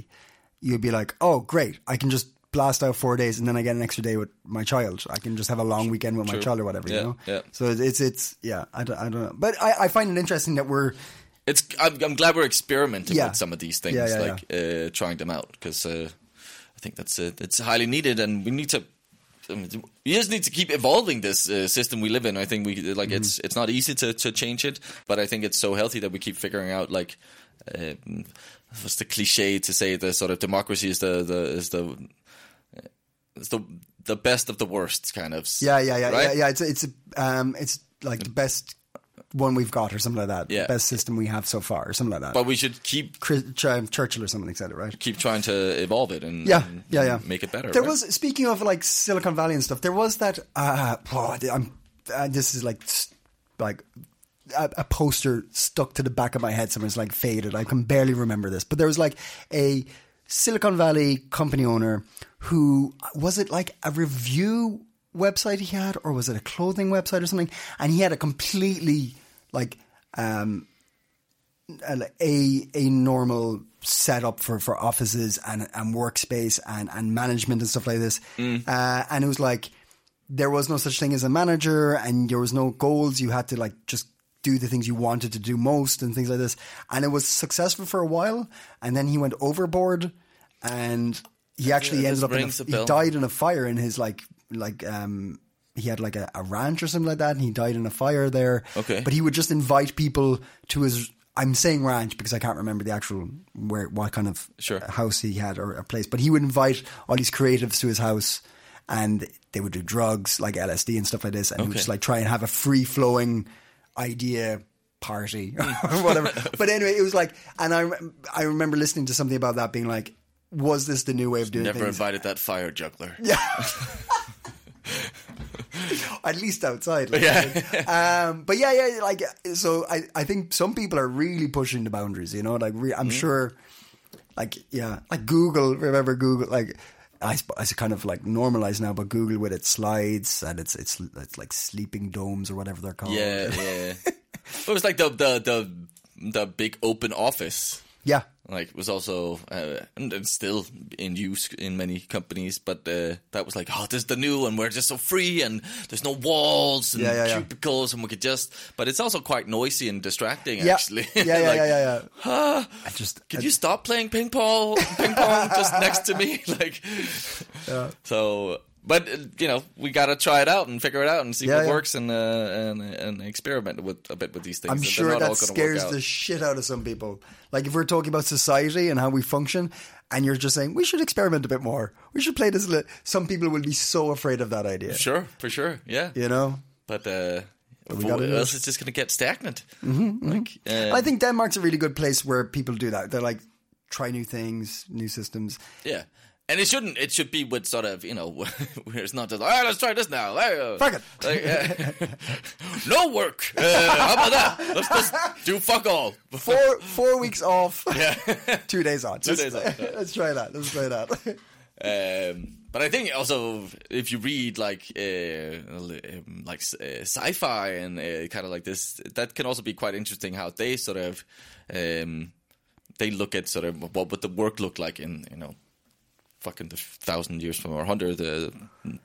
[SPEAKER 1] you'd be like, oh great, I can just blast out four days and then I get an extra day with my child. I can just have a long weekend with my child or whatever.
[SPEAKER 2] Yeah,
[SPEAKER 1] you know.
[SPEAKER 2] yeah.
[SPEAKER 1] So it's it's yeah. I don't, I don't know, but I, I find it interesting that we're
[SPEAKER 2] It's I'm, I'm glad we're experimenting
[SPEAKER 1] Yeah.
[SPEAKER 2] with some of these things,
[SPEAKER 1] Yeah, yeah,
[SPEAKER 2] like Uh, trying them out, because uh, I think that's uh, it's highly needed, and we need to. I mean, we just need to keep evolving this uh, system we live in. I think we like it's
[SPEAKER 1] Mm-hmm.
[SPEAKER 2] it's not easy to, to change it, but I think it's so healthy that we keep figuring out like um, what's the cliche to say the sort of democracy is the the is the uh, is the the best of the worst kind of s-
[SPEAKER 1] yeah yeah yeah
[SPEAKER 2] right?
[SPEAKER 1] yeah yeah. It's it's um it's like the best one we've got or something like that.
[SPEAKER 2] Yeah.
[SPEAKER 1] Best system we have so far or something like that.
[SPEAKER 2] But we should keep
[SPEAKER 1] Chris, Ch- Churchill or something said it right.
[SPEAKER 2] keep trying to evolve it and
[SPEAKER 1] Yeah,
[SPEAKER 2] and
[SPEAKER 1] yeah, yeah.
[SPEAKER 2] make it better.
[SPEAKER 1] There
[SPEAKER 2] right?
[SPEAKER 1] was speaking of like Silicon Valley and stuff. There was that. Uh, oh, I'm. Uh, this is like s- like a, a poster stuck to the back of my head. Somewhere's like faded. I can barely remember this, but there was like a Silicon Valley company owner who was it like a review website he had, or was it a clothing website or something? And he had a completely like a a- a normal setup for, for offices and, and workspace and, and management and stuff like this.
[SPEAKER 2] Mm.
[SPEAKER 1] Uh, and it was like there was no such thing as a manager and there was no goals. You had to like just do the things you wanted to do most and things like this. And it was successful for a while. And then he went overboard and he actually
[SPEAKER 2] Yeah,
[SPEAKER 1] ended
[SPEAKER 2] this
[SPEAKER 1] up in a,
[SPEAKER 2] rings a
[SPEAKER 1] he
[SPEAKER 2] bell.
[SPEAKER 1] died in a fire in his like like um he had like a, a ranch or something like that and he died in a fire there
[SPEAKER 2] Okay.
[SPEAKER 1] but he would just invite people to his. I'm saying ranch because I can't remember the actual where what kind of
[SPEAKER 2] Sure.
[SPEAKER 1] house he had or a place, but he would invite all these creatives to his house, and they would do drugs like LSD and stuff like this, and he would
[SPEAKER 2] Okay.
[SPEAKER 1] just like try and have a free flowing idea party [LAUGHS]
[SPEAKER 2] Hmm.
[SPEAKER 1] or whatever. but anyway, it was like, and I rem- I remember listening to something about that being like, was this the new way of doing
[SPEAKER 2] Never
[SPEAKER 1] things?
[SPEAKER 2] invited that fire
[SPEAKER 1] [LAUGHS]
[SPEAKER 2] juggler.
[SPEAKER 1] at least outside. Like,
[SPEAKER 2] [LAUGHS]
[SPEAKER 1] yeah. um, but yeah, yeah, like so. I, I think some people are really pushing the boundaries. You know, like re-
[SPEAKER 2] Mm-hmm.
[SPEAKER 1] I'm sure, like yeah, like Google. Remember Google? Like I, sp- it's kind of like normalized now, but Google with its slides and it's it's it's like sleeping domes or whatever they're called.
[SPEAKER 2] Yeah,
[SPEAKER 1] [LAUGHS]
[SPEAKER 2] yeah. it was like the the the the big open office.
[SPEAKER 1] yeah.
[SPEAKER 2] Like was also uh, and and still in use in many companies, but uh, that was like, oh, this is the new, and we're just so free, and there's no walls and
[SPEAKER 1] Yeah, yeah, yeah.
[SPEAKER 2] cubicles, and we could just. But it's also quite noisy and distracting,
[SPEAKER 1] Yeah.
[SPEAKER 2] actually. [LAUGHS]
[SPEAKER 1] yeah, yeah,
[SPEAKER 2] Like,
[SPEAKER 1] yeah, yeah, yeah. I just
[SPEAKER 2] Could you [LAUGHS] stop playing ping pong, ping pong just next to me? Like, so but uh, you know we gotta try it out and figure it out and see
[SPEAKER 1] Yeah,
[SPEAKER 2] what
[SPEAKER 1] yeah.
[SPEAKER 2] works and, uh, and and experiment with a bit with these things.
[SPEAKER 1] I'm
[SPEAKER 2] They're
[SPEAKER 1] sure
[SPEAKER 2] not all
[SPEAKER 1] that
[SPEAKER 2] gonna work
[SPEAKER 1] scares
[SPEAKER 2] out.
[SPEAKER 1] the shit out of some people. Like if we're talking about society and how we function, and you're just saying we should experiment a bit more, we should play this. Li-. Some people will be so afraid of that idea.
[SPEAKER 2] sure for sure yeah
[SPEAKER 1] You know,
[SPEAKER 2] but uh,
[SPEAKER 1] we
[SPEAKER 2] or
[SPEAKER 1] gotta do
[SPEAKER 2] else
[SPEAKER 1] it.
[SPEAKER 2] it's just gonna get stagnant. Mm-hmm, like, uh,
[SPEAKER 1] I think Denmark's a really good place where people do that. They're like try new things, new systems.
[SPEAKER 2] [LAUGHS] yeah. And it shouldn't. It should be with sort of you know, [LAUGHS] where it's not just all right. Let's try this now. Uh,
[SPEAKER 1] Fuck it.
[SPEAKER 2] Like, uh, [LAUGHS] no work. Uh, how about that? Let's just do fuck all.
[SPEAKER 1] Four four weeks off, [LAUGHS] two days on. Two
[SPEAKER 2] days on.
[SPEAKER 1] [LAUGHS] Let's try that. Let's try that. [LAUGHS]
[SPEAKER 2] Um, but I think also if you read like uh, um, like uh, sci-fi and uh, kind of like this, that can also be quite interesting how they sort of um, they look at sort of what would the work look like in you know fucking the thousand years from or hundred the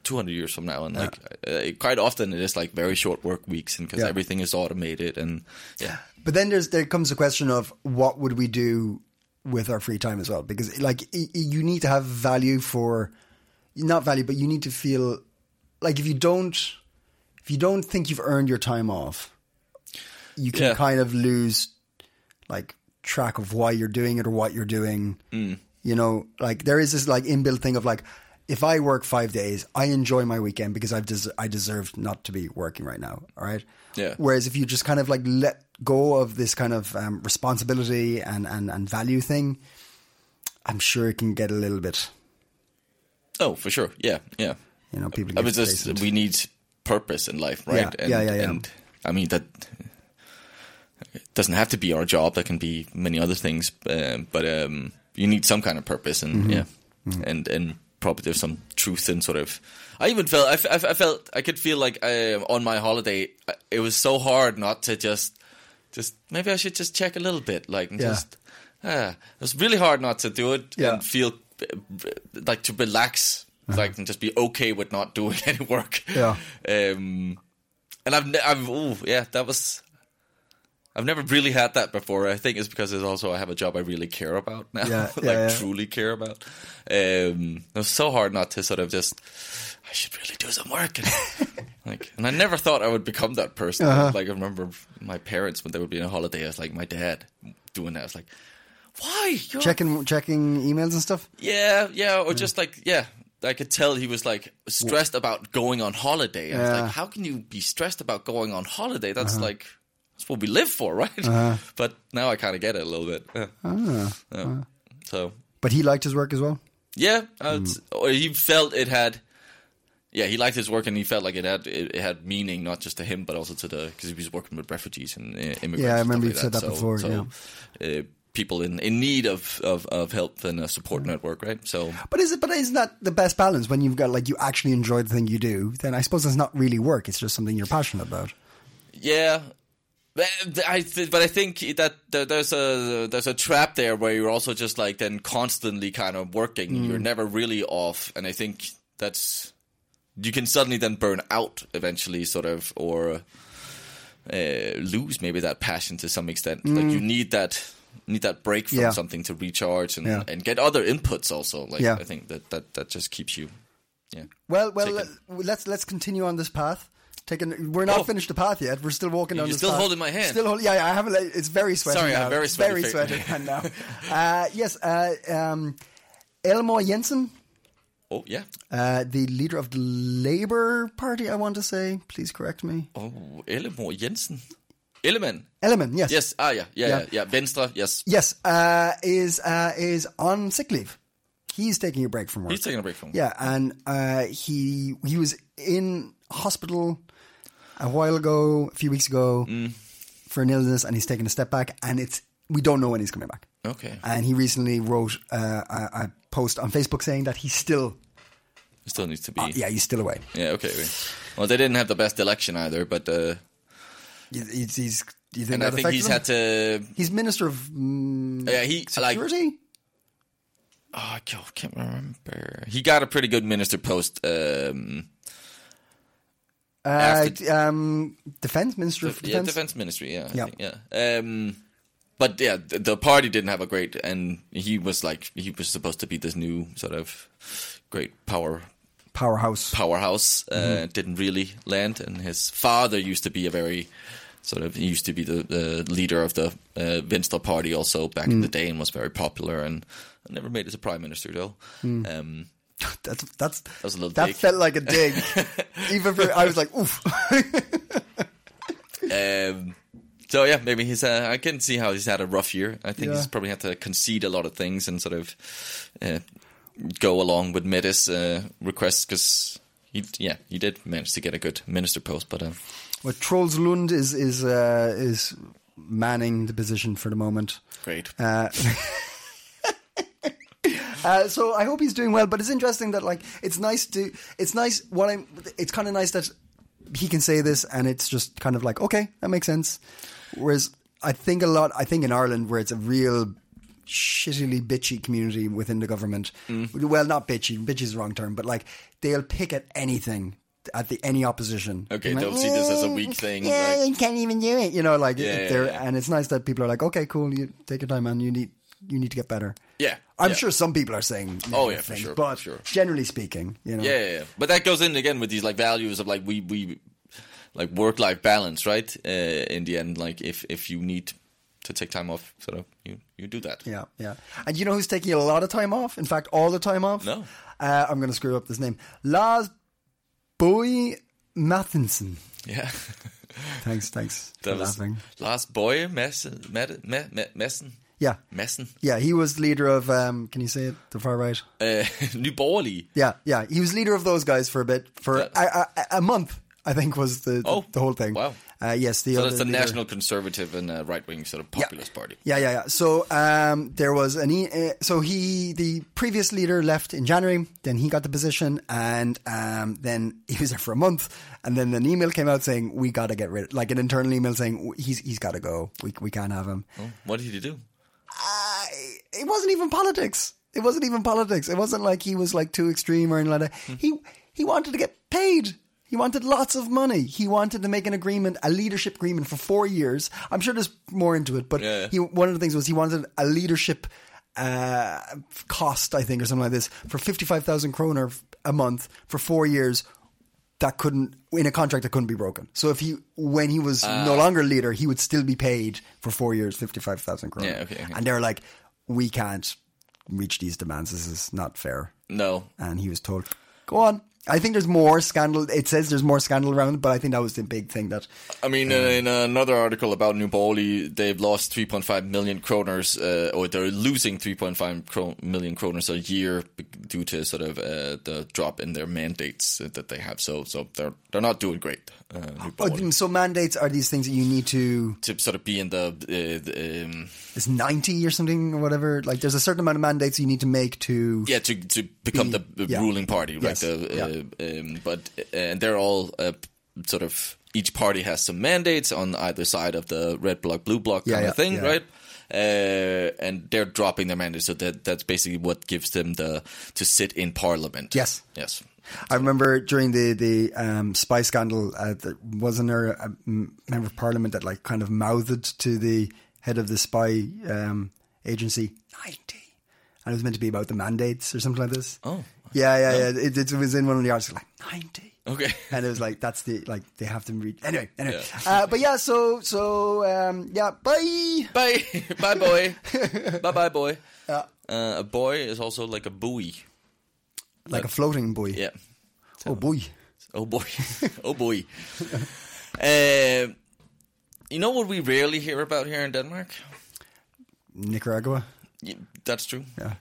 [SPEAKER 2] two hundred years from now, and like uh, quite often it is like very short work weeks, and because
[SPEAKER 1] Yeah.
[SPEAKER 2] everything is automated and yeah.
[SPEAKER 1] But then there's there comes the question of what would we do with our free time as well? Because like y- y- you need to have value for not value, but you need to feel like if you don't if you don't think you've earned your time off, you can
[SPEAKER 2] Yeah.
[SPEAKER 1] kind of lose like track of why you're doing it or what you're doing.
[SPEAKER 2] Mm.
[SPEAKER 1] You know, like there is this like inbuilt thing of like if I work five days, I enjoy my weekend because I've des- I deserve not to be working right now. All right.
[SPEAKER 2] Yeah.
[SPEAKER 1] Whereas if you just kind of like let go of this kind of um, responsibility and, and and value thing, I'm sure it can get a little bit.
[SPEAKER 2] Oh, for sure. Yeah, yeah.
[SPEAKER 1] You know, people get
[SPEAKER 2] I mean, just
[SPEAKER 1] complacent.
[SPEAKER 2] we need purpose in life, right?
[SPEAKER 1] Yeah, yeah, yeah, yeah.
[SPEAKER 2] And I mean that it doesn't have to be our job. That can be many other things, um, but um, you need some kind of purpose, and
[SPEAKER 1] Mm-hmm.
[SPEAKER 2] yeah, and and probably there's some truth in sort of. I even felt I, f- I f- I felt I could feel like um on my holiday. I- It was so hard not to just just maybe I should just check a little bit, like and
[SPEAKER 1] Yeah.
[SPEAKER 2] just. ah, it was really hard not to do it
[SPEAKER 1] Yeah. Uh-huh.
[SPEAKER 2] and feel like to relax, like and just be okay with not doing [LAUGHS] any work.
[SPEAKER 1] Yeah.
[SPEAKER 2] Um, and I've ne- I've ooh, yeah, that was. I've never really had that before. I think it's because it's also I have a job I really care about [LAUGHS] now,
[SPEAKER 1] Yeah,
[SPEAKER 2] like
[SPEAKER 1] yeah, yeah.
[SPEAKER 2] truly care about. Um, it was so hard not to sort of just. I should really do some work.
[SPEAKER 1] [LAUGHS]
[SPEAKER 2] And, like, and I never thought I would become that person.
[SPEAKER 1] Uh-huh.
[SPEAKER 2] Like, I remember my parents when they would be on a holiday. I was like, my dad doing that. I was like, why? You're
[SPEAKER 1] checking checking emails and stuff.
[SPEAKER 2] yeah, yeah,
[SPEAKER 1] Hmm.
[SPEAKER 2] or just like yeah, I could tell he was like stressed about going on holiday. I was
[SPEAKER 1] Yeah. Uh-huh.
[SPEAKER 2] like, how can you be stressed about going on holiday? That's like that's what we live for, right? [LAUGHS] But now I kind of get it a little bit. Yeah.
[SPEAKER 1] Ah,
[SPEAKER 2] Yeah.
[SPEAKER 1] uh-huh.
[SPEAKER 2] So
[SPEAKER 1] But he liked his work as well.
[SPEAKER 2] yeah, I
[SPEAKER 1] Hmm.
[SPEAKER 2] would s- or he felt it had. Yeah, he liked his work, and he felt like it had it, it had meaning not just to him, but also to the because he was working with refugees and uh, immigrants.
[SPEAKER 1] Yeah, I
[SPEAKER 2] and
[SPEAKER 1] remember
[SPEAKER 2] stuff
[SPEAKER 1] you've
[SPEAKER 2] like
[SPEAKER 1] said that before,
[SPEAKER 2] So, uh, people in, in need of, of, of help and a
[SPEAKER 1] Hmm.
[SPEAKER 2] support network, right? So
[SPEAKER 1] But is it? But isn't that the best balance when you've got like you actually enjoy the thing you do? Then I suppose it's not really work. It's just something you're passionate about.
[SPEAKER 2] Yeah. But I, th- but I think that th- there's a there's a trap there where you're also just like then constantly kind of working.
[SPEAKER 1] Mm.
[SPEAKER 2] You're never really off, and I think that's you can suddenly then burn out eventually, sort of, or uh, lose maybe that passion to some extent. Like you need that need that break from
[SPEAKER 1] Mm. Yeah.
[SPEAKER 2] something to recharge and,
[SPEAKER 1] Yeah.
[SPEAKER 2] and get other inputs also. Like
[SPEAKER 1] Yeah.
[SPEAKER 2] I think that, that that just keeps you. Yeah.
[SPEAKER 1] Well, well,
[SPEAKER 2] Take
[SPEAKER 1] let,
[SPEAKER 2] it.
[SPEAKER 1] let's let's continue on this path. Taking, we're not
[SPEAKER 2] Oh.
[SPEAKER 1] finished the path yet. We're still walking on.
[SPEAKER 2] You're
[SPEAKER 1] this
[SPEAKER 2] still
[SPEAKER 1] path.
[SPEAKER 2] holding my hand.
[SPEAKER 1] Still hold, yeah, yeah, I haven't. let- It's very sweaty.
[SPEAKER 2] Sorry, I'm
[SPEAKER 1] now.
[SPEAKER 2] very
[SPEAKER 1] It's
[SPEAKER 2] sweaty.
[SPEAKER 1] Very
[SPEAKER 2] [LAUGHS]
[SPEAKER 1] sweaty hand now. Uh, yes, uh, um, Elmore Jensen,
[SPEAKER 2] Oh yeah.
[SPEAKER 1] uh, the leader of the Labour Party. I want to say. Please correct me.
[SPEAKER 2] Oh, Ellemor Jensen. Ellemann.
[SPEAKER 1] Elleman. Yes.
[SPEAKER 2] Yes. Ah, yeah, yeah,
[SPEAKER 1] Yeah.
[SPEAKER 2] yeah, yeah. Venstre. Yes.
[SPEAKER 1] Yes. Uh, is uh, is on sick leave. He's taking a break from work.
[SPEAKER 2] He's taking a break from.
[SPEAKER 1] Yeah, and uh, he he was in hospital a while ago, a few weeks ago,
[SPEAKER 2] Mm.
[SPEAKER 1] for an illness, and he's taking a step back, and it's we don't know when he's coming back.
[SPEAKER 2] Okay.
[SPEAKER 1] And he recently wrote uh, a, a post on Facebook saying that he's still
[SPEAKER 2] Still needs to be. yeah.
[SPEAKER 1] yeah he's still away.
[SPEAKER 2] Okay. wait. Well, they didn't have the best election either, but uh,
[SPEAKER 1] He's, he's, he's do you think
[SPEAKER 2] and
[SPEAKER 1] that
[SPEAKER 2] I think
[SPEAKER 1] affected
[SPEAKER 2] he's
[SPEAKER 1] him?
[SPEAKER 2] had to.
[SPEAKER 1] He's minister of mm,
[SPEAKER 2] Yeah, he like.
[SPEAKER 1] security.
[SPEAKER 2] Oh, I can't can't remember. He got a pretty good minister post. Um,
[SPEAKER 1] uh,
[SPEAKER 2] after-
[SPEAKER 1] d- um, defense minister of
[SPEAKER 2] yeah,
[SPEAKER 1] defense.
[SPEAKER 2] defense ministry. Yeah. I
[SPEAKER 1] Yeah.
[SPEAKER 2] think, yeah. Um, but yeah, the, the party didn't have a great, and he was like he was supposed to be this new sort of great power
[SPEAKER 1] powerhouse.
[SPEAKER 2] powerhouse uh,
[SPEAKER 1] Mm-hmm.
[SPEAKER 2] didn't really land, and his father used to be a very sort of he used to be the, the leader of the uh, Venstre party also back in the
[SPEAKER 1] Mm.
[SPEAKER 2] day and was very popular and never made it to prime minister though.
[SPEAKER 1] Mm.
[SPEAKER 2] Um,
[SPEAKER 1] That's that's
[SPEAKER 2] was a little
[SPEAKER 1] that
[SPEAKER 2] dig.
[SPEAKER 1] felt like a
[SPEAKER 2] [LAUGHS]
[SPEAKER 1] dig. Even for I was like, oof.
[SPEAKER 2] um, so yeah, maybe he's. Uh, I can see how he's had a rough year. I think he's
[SPEAKER 1] Yeah.
[SPEAKER 2] probably had to concede a lot of things and sort of uh, go along with Metis' uh, requests because he, yeah, he did manage to get a good minister post, but. Uh,
[SPEAKER 1] Well, Trolls Lund is is uh, is manning the position for the moment.
[SPEAKER 2] Great.
[SPEAKER 1] Uh, Uh, so I hope he's doing well, but it's interesting that like it's nice to it's nice what I'm it's kind of nice that he can say this and it's just kind of like okay that makes sense. Whereas I think a lot I think in Ireland where it's a real shittily bitchy community within the government.
[SPEAKER 2] Mm.
[SPEAKER 1] Well, not bitchy, bitchy is the wrong term, but like they'll pick at anything at the any opposition.
[SPEAKER 2] Okay,
[SPEAKER 1] And like, "Mm,
[SPEAKER 2] don't see this as a weak thing,
[SPEAKER 1] Yeah,
[SPEAKER 2] like-
[SPEAKER 1] you can't even do it. You know, like
[SPEAKER 2] Yeah,
[SPEAKER 1] if
[SPEAKER 2] yeah,
[SPEAKER 1] they're
[SPEAKER 2] yeah.
[SPEAKER 1] and it's nice that people are like, okay, cool, you take your time, man. You need you need to get better.
[SPEAKER 2] Yeah,
[SPEAKER 1] I'm
[SPEAKER 2] yeah.
[SPEAKER 1] sure some people are saying.
[SPEAKER 2] Oh,
[SPEAKER 1] negative
[SPEAKER 2] yeah, for
[SPEAKER 1] things,
[SPEAKER 2] sure, for
[SPEAKER 1] But
[SPEAKER 2] sure.
[SPEAKER 1] generally speaking, you know,
[SPEAKER 2] Yeah, yeah, yeah. But that goes in again with these like values of like we we like work life balance, right? Uh, in the end, like if if you need to take time off, sort of you you do that.
[SPEAKER 1] yeah, yeah. And you know who's taking a lot of time off? In fact, all the time off.
[SPEAKER 2] No.
[SPEAKER 1] uh, I'm going to screw up this name. Lars Boy Matheson.
[SPEAKER 2] Yeah. [LAUGHS]
[SPEAKER 1] Thanks, thanks for
[SPEAKER 2] That was
[SPEAKER 1] laughing.
[SPEAKER 2] last boy Messen Med- Me- Me- Messen
[SPEAKER 1] Yeah,
[SPEAKER 2] Messen
[SPEAKER 1] yeah. He was leader of. Um, can you say it? The far
[SPEAKER 2] [LAUGHS]
[SPEAKER 1] right.
[SPEAKER 2] uh, New Borgerlige.
[SPEAKER 1] Yeah, yeah. He was leader of those guys for a bit, for a, a, a month, I think was the the,
[SPEAKER 2] Oh,
[SPEAKER 1] the whole thing.
[SPEAKER 2] wow.
[SPEAKER 1] Uh, yes, the
[SPEAKER 2] So
[SPEAKER 1] other
[SPEAKER 2] that's the
[SPEAKER 1] leader-
[SPEAKER 2] national conservative and uh, right wing sort of populist party.
[SPEAKER 1] Yeah, yeah, yeah. So um, there was an e- uh, so he the previous leader left in January. Then he got the position, and um, then [LAUGHS] he was there for a month. And then an email came out saying we got to get rid, like an internal email saying he's he's got to go. We we can't have him.
[SPEAKER 2] What did he do?
[SPEAKER 1] I, it wasn't even politics. It wasn't even politics. It wasn't like he was like too extreme or anything like that.
[SPEAKER 2] Hmm.
[SPEAKER 1] He he wanted to get paid. He wanted lots of money. He wanted to make an agreement, a leadership agreement for four years. I'm sure there's more into it, but
[SPEAKER 2] Yeah, yeah.
[SPEAKER 1] he one of the things was he wanted a leadership uh, cost, I think, or something like this, for fifty five thousand kroner a month for four years. That couldn't in a contract that couldn't be broken. So if he when he was
[SPEAKER 2] Ah.
[SPEAKER 1] no longer leader, he would still be paid for four years fifty five thousand kroner.
[SPEAKER 2] Yeah, okay, okay.
[SPEAKER 1] And they're like, we can't reach these demands. This is not fair.
[SPEAKER 2] No.
[SPEAKER 1] And he was told, go on. I think there's more scandal. It says there's more scandal around, but I think that was the big thing that.
[SPEAKER 2] I mean, uh, in another article about New Bali, they've lost 3.5 million kroners, uh, or they're losing 3.5 kro- million kroners a year be- due to sort of uh, the drop in their mandates uh, that they have. So, so they're they're not doing great. Uh, New Bali.
[SPEAKER 1] Oh, so mandates are these things that you need to.
[SPEAKER 2] to sort of be in the, uh, the um,
[SPEAKER 1] It's ninety or something or whatever. Like there's a certain amount of mandates you need to make to.
[SPEAKER 2] yeah to to become the the
[SPEAKER 1] Mm. yeah.
[SPEAKER 2] ruling party, right?
[SPEAKER 1] Yes,
[SPEAKER 2] The, uh, um, but uh, and they're all uh, sort of each party has some mandates on either side of the red block, blue block
[SPEAKER 1] Yeah,
[SPEAKER 2] kind
[SPEAKER 1] yeah,
[SPEAKER 2] of thing,
[SPEAKER 1] yeah.
[SPEAKER 2] right? Uh, and they're dropping their mandates, so that that's basically what gives them the to sit in parliament.
[SPEAKER 1] Yes.
[SPEAKER 2] yes,
[SPEAKER 1] I remember during the the um, spy scandal, uh, there wasn't there a m- member of parliament that like kind of mouthed to the head of the spy um, agency ninety, and it was meant to be about the mandates or something like this. Oh, yeah, yeah, yeah. It, it was in one of the articles like ninety. [LAUGHS]
[SPEAKER 2] Okay.
[SPEAKER 1] and it was like that's the like they have to read anyway. Anyway, Uh, but yeah, so so um, yeah, bye.
[SPEAKER 2] bye, [LAUGHS] bye, boy,
[SPEAKER 1] [LAUGHS]
[SPEAKER 2] bye, bye, boy. Uh, a boy is also like a buoy.
[SPEAKER 1] Like a floating buoy.
[SPEAKER 2] Yeah.
[SPEAKER 1] Oh boy.
[SPEAKER 2] Oh boy. [LAUGHS] oh boy. uh, you know what we rarely hear about here in Denmark?
[SPEAKER 1] Nicaragua.
[SPEAKER 2] Yeah, that's true.
[SPEAKER 1] Yeah.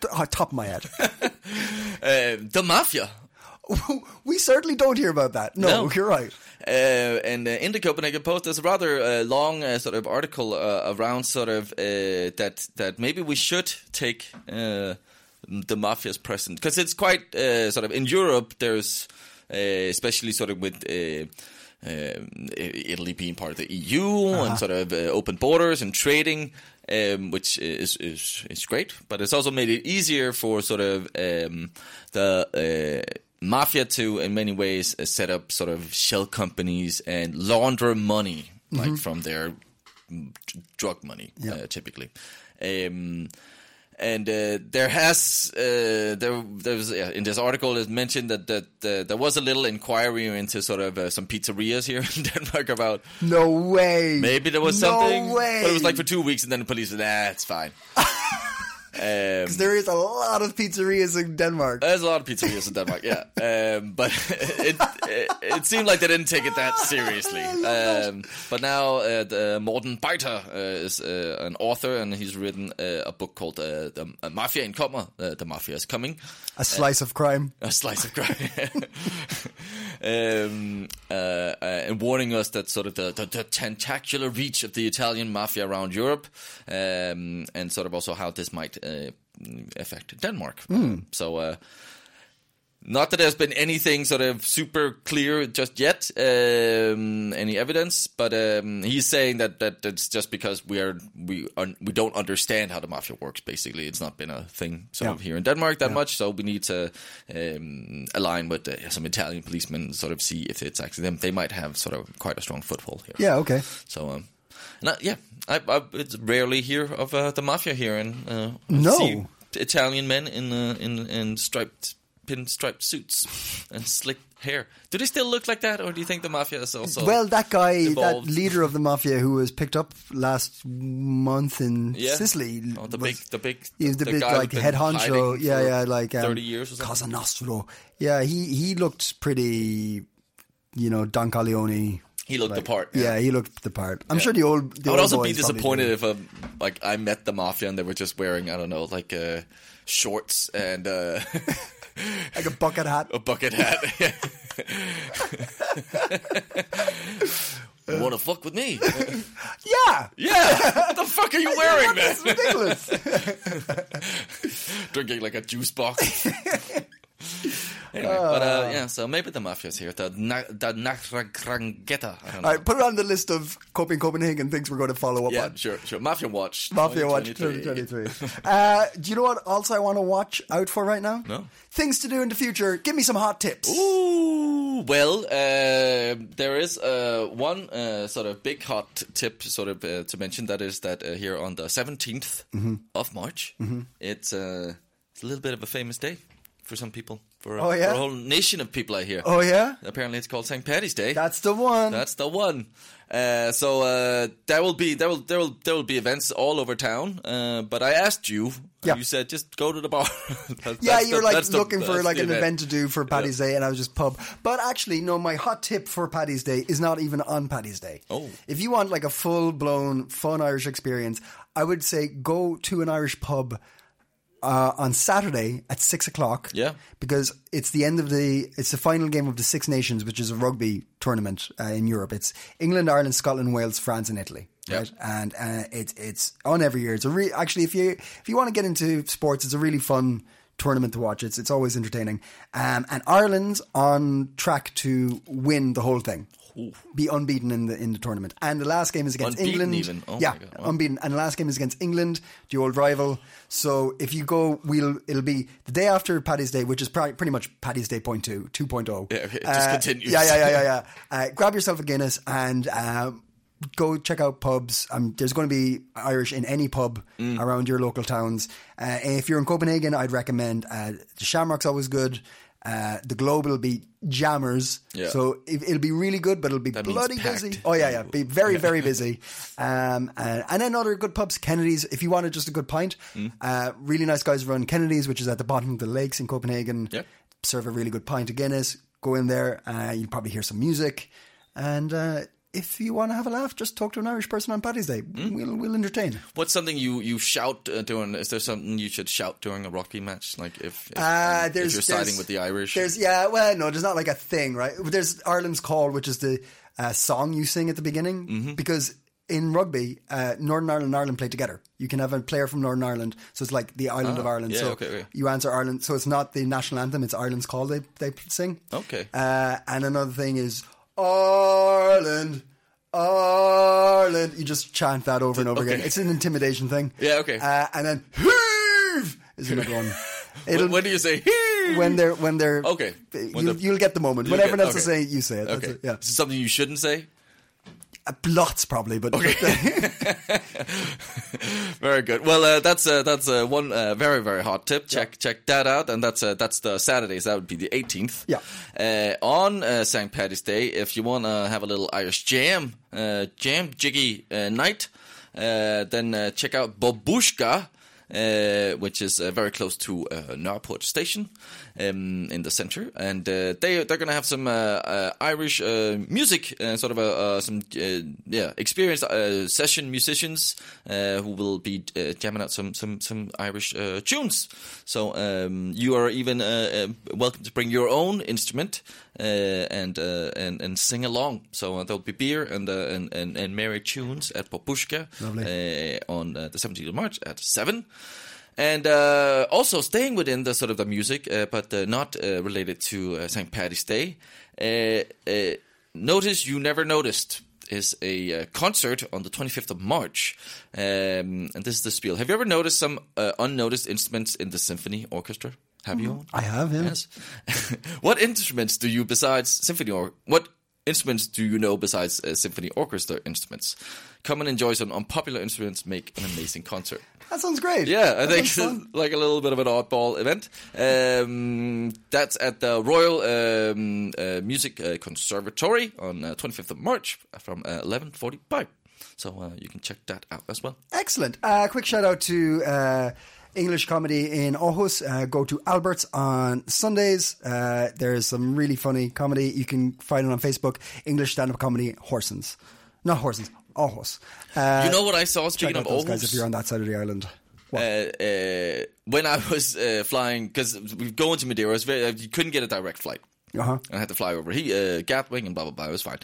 [SPEAKER 1] T- oh, top of my head. [LAUGHS]
[SPEAKER 2] Uh, the mafia.
[SPEAKER 1] we certainly don't hear about that. No,
[SPEAKER 2] No.
[SPEAKER 1] you're right.
[SPEAKER 2] Uh, and uh, in the Copenhagen Post, there's a rather uh, long uh, sort of article uh, around sort of uh, that that maybe we should take uh, the mafia's present because it's quite uh, sort of in Europe. There's uh, especially sort of with. Uh, um, I- Italy being part of the EU and sort of uh, open borders and trading, um, which is, is is great, but it's also made it easier for sort of um, the uh, mafia to, in many ways, uh, set up sort of shell companies and launder money like from their mm, dr- drug money uh, typically. Um, and uh, there has uh, there there was yeah, in this article it mentioned that that uh, there was a little inquiry into sort of uh, some pizzerias here in [LAUGHS] Denmark about
[SPEAKER 1] No way.
[SPEAKER 2] maybe there was
[SPEAKER 1] no
[SPEAKER 2] something,
[SPEAKER 1] Way.
[SPEAKER 2] but it was like for two weeks, and then the police said, "Nah, it's fine." um,
[SPEAKER 1] there is a lot of pizzerias in Denmark.
[SPEAKER 2] there's a lot of pizzerias in Denmark, yeah.
[SPEAKER 1] [LAUGHS]
[SPEAKER 2] Um, but it, it it seemed like they didn't take it that seriously. Um, but now uh, the Morten Beiter uh, is uh, an author, and he's written uh, a book called uh, "The Mafia in Kommer," uh, "The Mafia is Coming,"
[SPEAKER 1] a slice of crime.
[SPEAKER 2] a slice of crime, [LAUGHS] um, uh, uh, and warning us that sort of the, the, the tentacular reach of the Italian mafia around Europe, um, and sort of also how this might uh, affect Denmark. So. Uh, not that there's been anything sort of super clear just yet, um, any evidence, but um, he's saying that that it's just because we are we un, we don't understand how the mafia works. Basically, it's not been a thing sort
[SPEAKER 1] Yeah.
[SPEAKER 2] of here in Denmark that much, so we need to um, align with uh, some Italian policemen, and sort of see if it's actually them. They might have sort of quite a strong foothold here.
[SPEAKER 1] Yeah, okay.
[SPEAKER 2] So, um, and I- yeah, I, I it's rarely hear of uh, the mafia here, and uh, I
[SPEAKER 1] No.
[SPEAKER 2] see Italian men in uh, in in striped pinstriped suits and slick hair. Do they still look like that, or do you think the mafia is also
[SPEAKER 1] well, that guy,
[SPEAKER 2] evolved.
[SPEAKER 1] that leader of the mafia who was picked up last month in
[SPEAKER 2] Yeah.
[SPEAKER 1] Sicily.
[SPEAKER 2] Oh, the
[SPEAKER 1] was-
[SPEAKER 2] big, the big,
[SPEAKER 1] He was the, big
[SPEAKER 2] guy who'd
[SPEAKER 1] like
[SPEAKER 2] been
[SPEAKER 1] head
[SPEAKER 2] hiding
[SPEAKER 1] honcho. Yeah,
[SPEAKER 2] for
[SPEAKER 1] yeah, like um,
[SPEAKER 2] thirty years or something.
[SPEAKER 1] Casa Nostro. Yeah, he he looked pretty, you know, Don Corleone.
[SPEAKER 2] He looked the part.
[SPEAKER 1] Yeah. he looked the part. I'm sure the old. The
[SPEAKER 2] I
[SPEAKER 1] old
[SPEAKER 2] would also be
[SPEAKER 1] boys probably
[SPEAKER 2] disappointed
[SPEAKER 1] did.
[SPEAKER 2] if um, like I met the mafia and they were just wearing I don't know like uh, shorts and uh, [LAUGHS]
[SPEAKER 1] like a bucket hat.
[SPEAKER 2] a bucket hat. [LAUGHS] Want to fuck with me?
[SPEAKER 1] Yeah,
[SPEAKER 2] Yeah. What the fuck are
[SPEAKER 1] [LAUGHS]
[SPEAKER 2] you wearing, man? [LAUGHS]
[SPEAKER 1] that's ridiculous.
[SPEAKER 2] Drinking like a juice
[SPEAKER 1] [LAUGHS]
[SPEAKER 2] box. anyway, but uh, yeah, so maybe the mafia's here. The na- the Nachrangrangeta. I don't know.
[SPEAKER 1] All right, put it on the list of coping Copenhagen things we're going to follow up
[SPEAKER 2] yeah,
[SPEAKER 1] on.
[SPEAKER 2] sure, sure. Mafia Watch.
[SPEAKER 1] Mafia Watch
[SPEAKER 2] [LAUGHS]
[SPEAKER 1] 2023. uh, do you know what else I want to watch out for right now?
[SPEAKER 2] No.
[SPEAKER 1] Things to do in the future. Give me some hot tips.
[SPEAKER 2] Ooh, well, uh, there is uh, one uh, sort of big hot tip, sort of uh, to mention that is that uh, here on the 17th
[SPEAKER 1] Mm-hmm.
[SPEAKER 2] of March, it's, uh, it's a little bit of a famous day for some people, for, a-
[SPEAKER 1] Oh, yeah?
[SPEAKER 2] for a whole nation of people, I hear.
[SPEAKER 1] Oh, yeah?
[SPEAKER 2] Apparently, it's called St. Patty's Day.
[SPEAKER 1] That's the one.
[SPEAKER 2] That's the one. Uh, so uh, there will be there will there will there will be events all over town. Uh, but I asked you, and
[SPEAKER 1] Yeah.
[SPEAKER 2] you said just go to the bar. [LAUGHS] That's-
[SPEAKER 1] yeah,
[SPEAKER 2] that's
[SPEAKER 1] you were
[SPEAKER 2] the-
[SPEAKER 1] like
[SPEAKER 2] that's the-
[SPEAKER 1] looking for
[SPEAKER 2] that's
[SPEAKER 1] like
[SPEAKER 2] the
[SPEAKER 1] an event to do for Paddy's Day, and I was just pub. But actually, no, my hot tip for Paddy's Day is not even on Paddy's Day.
[SPEAKER 2] Oh.
[SPEAKER 1] if you want like a full blown fun Irish experience, I would say go to an Irish pub uh, on Saturday at six o'clock.
[SPEAKER 2] Yeah.
[SPEAKER 1] because it's the end of the it's the final game of the Six Nations, which is a rugby tournament uh, in Europe. It's England, Ireland, Scotland, Wales, France, and Italy.
[SPEAKER 2] Yeah.
[SPEAKER 1] Right, and uh, it's it's on every year. It's a re- actually if you if you want to get into sports, it's a really fun tournament to watch. It's it's always entertaining. Um, and Ireland's on track to win the whole thing, be unbeaten in the in the tournament. And the last game is against
[SPEAKER 2] Unbeaten
[SPEAKER 1] England.
[SPEAKER 2] even? Oh my
[SPEAKER 1] yeah,
[SPEAKER 2] God.
[SPEAKER 1] unbeaten. And the last game is against England, the old rival. So if you go, we'll it'll be the day after Paddy's Day, which is pri- pretty much Paddy's Day point two, 2.0.
[SPEAKER 2] Yeah, okay, it just continues.
[SPEAKER 1] Yeah, yeah, yeah, yeah,
[SPEAKER 2] [LAUGHS]
[SPEAKER 1] yeah. Uh, grab yourself a Guinness and um, go check out pubs. Um, there's going to be Irish in any pub
[SPEAKER 2] Mm.
[SPEAKER 1] around your local towns. Uh, if you're in Copenhagen, I'd recommend uh, the Shamrock's always good. Uh, the Globe will be jammers,
[SPEAKER 2] Yeah.
[SPEAKER 1] so it, it'll be really good, but it'll be
[SPEAKER 2] means
[SPEAKER 1] bloody
[SPEAKER 2] packed.
[SPEAKER 1] busy. Oh yeah, yeah, be very very busy. Um, and, and then other good pubs, Kennedy's. If you wanted just a good pint, uh, really nice guys run Kennedy's, which is at the bottom of the lakes in Copenhagen.
[SPEAKER 2] Yep.
[SPEAKER 1] Serve a really good pint of Guinness. Go in there, uh, you'll probably hear some music, and uh, if you want to have a laugh, just talk to an Irish person on Paddy's Day. We'll we'll entertain.
[SPEAKER 2] What's something you you shout uh, during? Is there something you should shout during a rugby match? Like if if,
[SPEAKER 1] Uh,
[SPEAKER 2] if
[SPEAKER 1] there's,
[SPEAKER 2] you're
[SPEAKER 1] there's-
[SPEAKER 2] siding with the Irish,
[SPEAKER 1] There's yeah, well, no, there's not like a thing, right? There's Ireland's call, which is the uh, song you sing at the beginning,
[SPEAKER 2] Mm-hmm.
[SPEAKER 1] because in rugby, uh, Northern Ireland and Ireland play together. You can have a player from Northern Ireland, so it's like the island of Ireland.
[SPEAKER 2] Ah, yeah,
[SPEAKER 1] so
[SPEAKER 2] okay, okay.
[SPEAKER 1] you answer Ireland, so it's not the national anthem; it's Ireland's call they they sing.
[SPEAKER 2] Okay.
[SPEAKER 1] Uh, and another thing is Ireland. Ireland, you just chant that over and over
[SPEAKER 2] Okay.
[SPEAKER 1] again. It's an intimidation thing.
[SPEAKER 2] Yeah, okay.
[SPEAKER 1] Uh, and then heave is another
[SPEAKER 2] [LAUGHS]
[SPEAKER 1] one. It'll-
[SPEAKER 2] when, when do you say [LAUGHS] "Hey!"
[SPEAKER 1] when they're when they're
[SPEAKER 2] Okay. When
[SPEAKER 1] you,
[SPEAKER 2] the-
[SPEAKER 1] you'll get the moment.
[SPEAKER 2] You'll
[SPEAKER 1] When everyone
[SPEAKER 2] get-
[SPEAKER 1] else is
[SPEAKER 2] okay.
[SPEAKER 1] saying, it, you say it. That's
[SPEAKER 2] Okay,
[SPEAKER 1] it. Yeah.
[SPEAKER 2] Is it something you shouldn't say?
[SPEAKER 1] Uh, Lots, probably, but
[SPEAKER 2] very good. Well, uh, that's uh, that's uh, one uh, very very hot tip. Check check that out, and that's uh, that's the Saturdays. That would be the 18th.
[SPEAKER 1] Yeah.
[SPEAKER 2] Uh, on uh, St. Patty's Day, if you want to have a little Irish jam, uh, jam jiggy uh, night, uh, then uh, check out Bobushka. Uh, which is uh, very close to uh, Norport Station um, in the center, and uh, they they're gonna have some uh, uh, Irish uh, music, uh, sort of a uh, some uh, yeah experienced uh, session musicians uh, who will be uh, jamming out some some some Irish uh, tunes. So um, you are even uh, uh, welcome to bring your own instrument uh, and uh, and and sing along. So uh, there'll be beer and uh, and, and and merry tunes at Popushka uh, on uh, the 17th of March at seven. And uh, also staying within the sort of the music, uh, but uh, not uh, related to uh, St. Patty's Day. Uh, uh, Notice you never noticed is a uh, concert on the 25th of March, um, and this is the spiel. Have you ever noticed some uh, unnoticed instruments in the symphony orchestra? Have you? Owen?
[SPEAKER 1] [LAUGHS] I have, yeah.
[SPEAKER 2] Yes. [LAUGHS] what instruments do you besides symphony or what instruments do you know besides uh, symphony orchestra instruments? Come and enjoy some unpopular instruments. Make an amazing concert.
[SPEAKER 1] that sounds great.
[SPEAKER 2] Yeah, I
[SPEAKER 1] That
[SPEAKER 2] think
[SPEAKER 1] sounds
[SPEAKER 2] [LAUGHS]
[SPEAKER 1] fun.
[SPEAKER 2] like a little bit of an oddball event. Um, that's at the Royal um, uh, Music uh, Conservatory on uh, 25th of March from uh, 11:45. So uh, you can check that out as well.
[SPEAKER 1] Excellent. Uh, quick shout out to uh, English comedy in Aarhus. Uh, go to Albert's on Sundays. Uh, there's some really funny comedy. You can find it on Facebook. English stand up comedy, Horsens. Not Horsens, Aarhus. Uh,
[SPEAKER 2] You know what I saw? Speaking
[SPEAKER 1] check
[SPEAKER 2] of
[SPEAKER 1] out those guys if
[SPEAKER 2] Aarhus?
[SPEAKER 1] you're on that side of the island. What?
[SPEAKER 2] uh, uh, when I was uh, flying, because we go into Madeira, it's very, uh, you couldn't get a direct flight.
[SPEAKER 1] Uh-huh.
[SPEAKER 2] I had to fly over he, uh, Gatwick and blah blah blah. It was
[SPEAKER 1] [LAUGHS]
[SPEAKER 2] fine,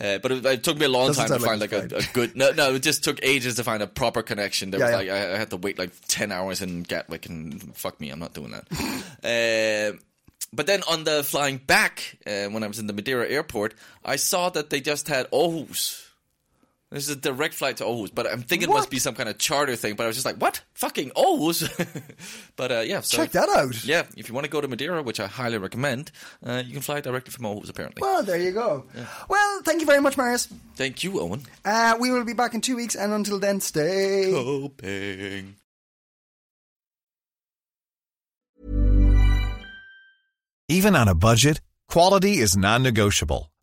[SPEAKER 2] uh, but it, it took me a long
[SPEAKER 1] Doesn't
[SPEAKER 2] time to
[SPEAKER 1] sound like
[SPEAKER 2] find like
[SPEAKER 1] it's
[SPEAKER 2] a, a
[SPEAKER 1] fine.
[SPEAKER 2] good. No, no, it just took ages to find a proper connection. There
[SPEAKER 1] Yeah,
[SPEAKER 2] was
[SPEAKER 1] yeah.
[SPEAKER 2] like I, I had to wait like ten hours in Gatwick, and fuck me, I'm not doing that. [LAUGHS] uh, but then on the flying back, uh, when I was in the Madeira airport, I saw that they just had Aarhus. This is a direct flight to Aarhus, but I'm thinking it must
[SPEAKER 1] What?
[SPEAKER 2] be some kind of charter thing. But I was just like, what? Fucking Aarhus. [LAUGHS] but uh, yeah, so
[SPEAKER 1] Check that out.
[SPEAKER 2] Yeah, if you want to go to Madeira, which I highly recommend, uh, you can fly directly from Aarhus, apparently.
[SPEAKER 1] Well, there you go. Well, thank you very much, Marius.
[SPEAKER 2] Thank you, Owen.
[SPEAKER 1] Uh, we will be back in two weeks, and until then, stay.
[SPEAKER 2] Coping.
[SPEAKER 3] Even on a budget, quality is non-negotiable.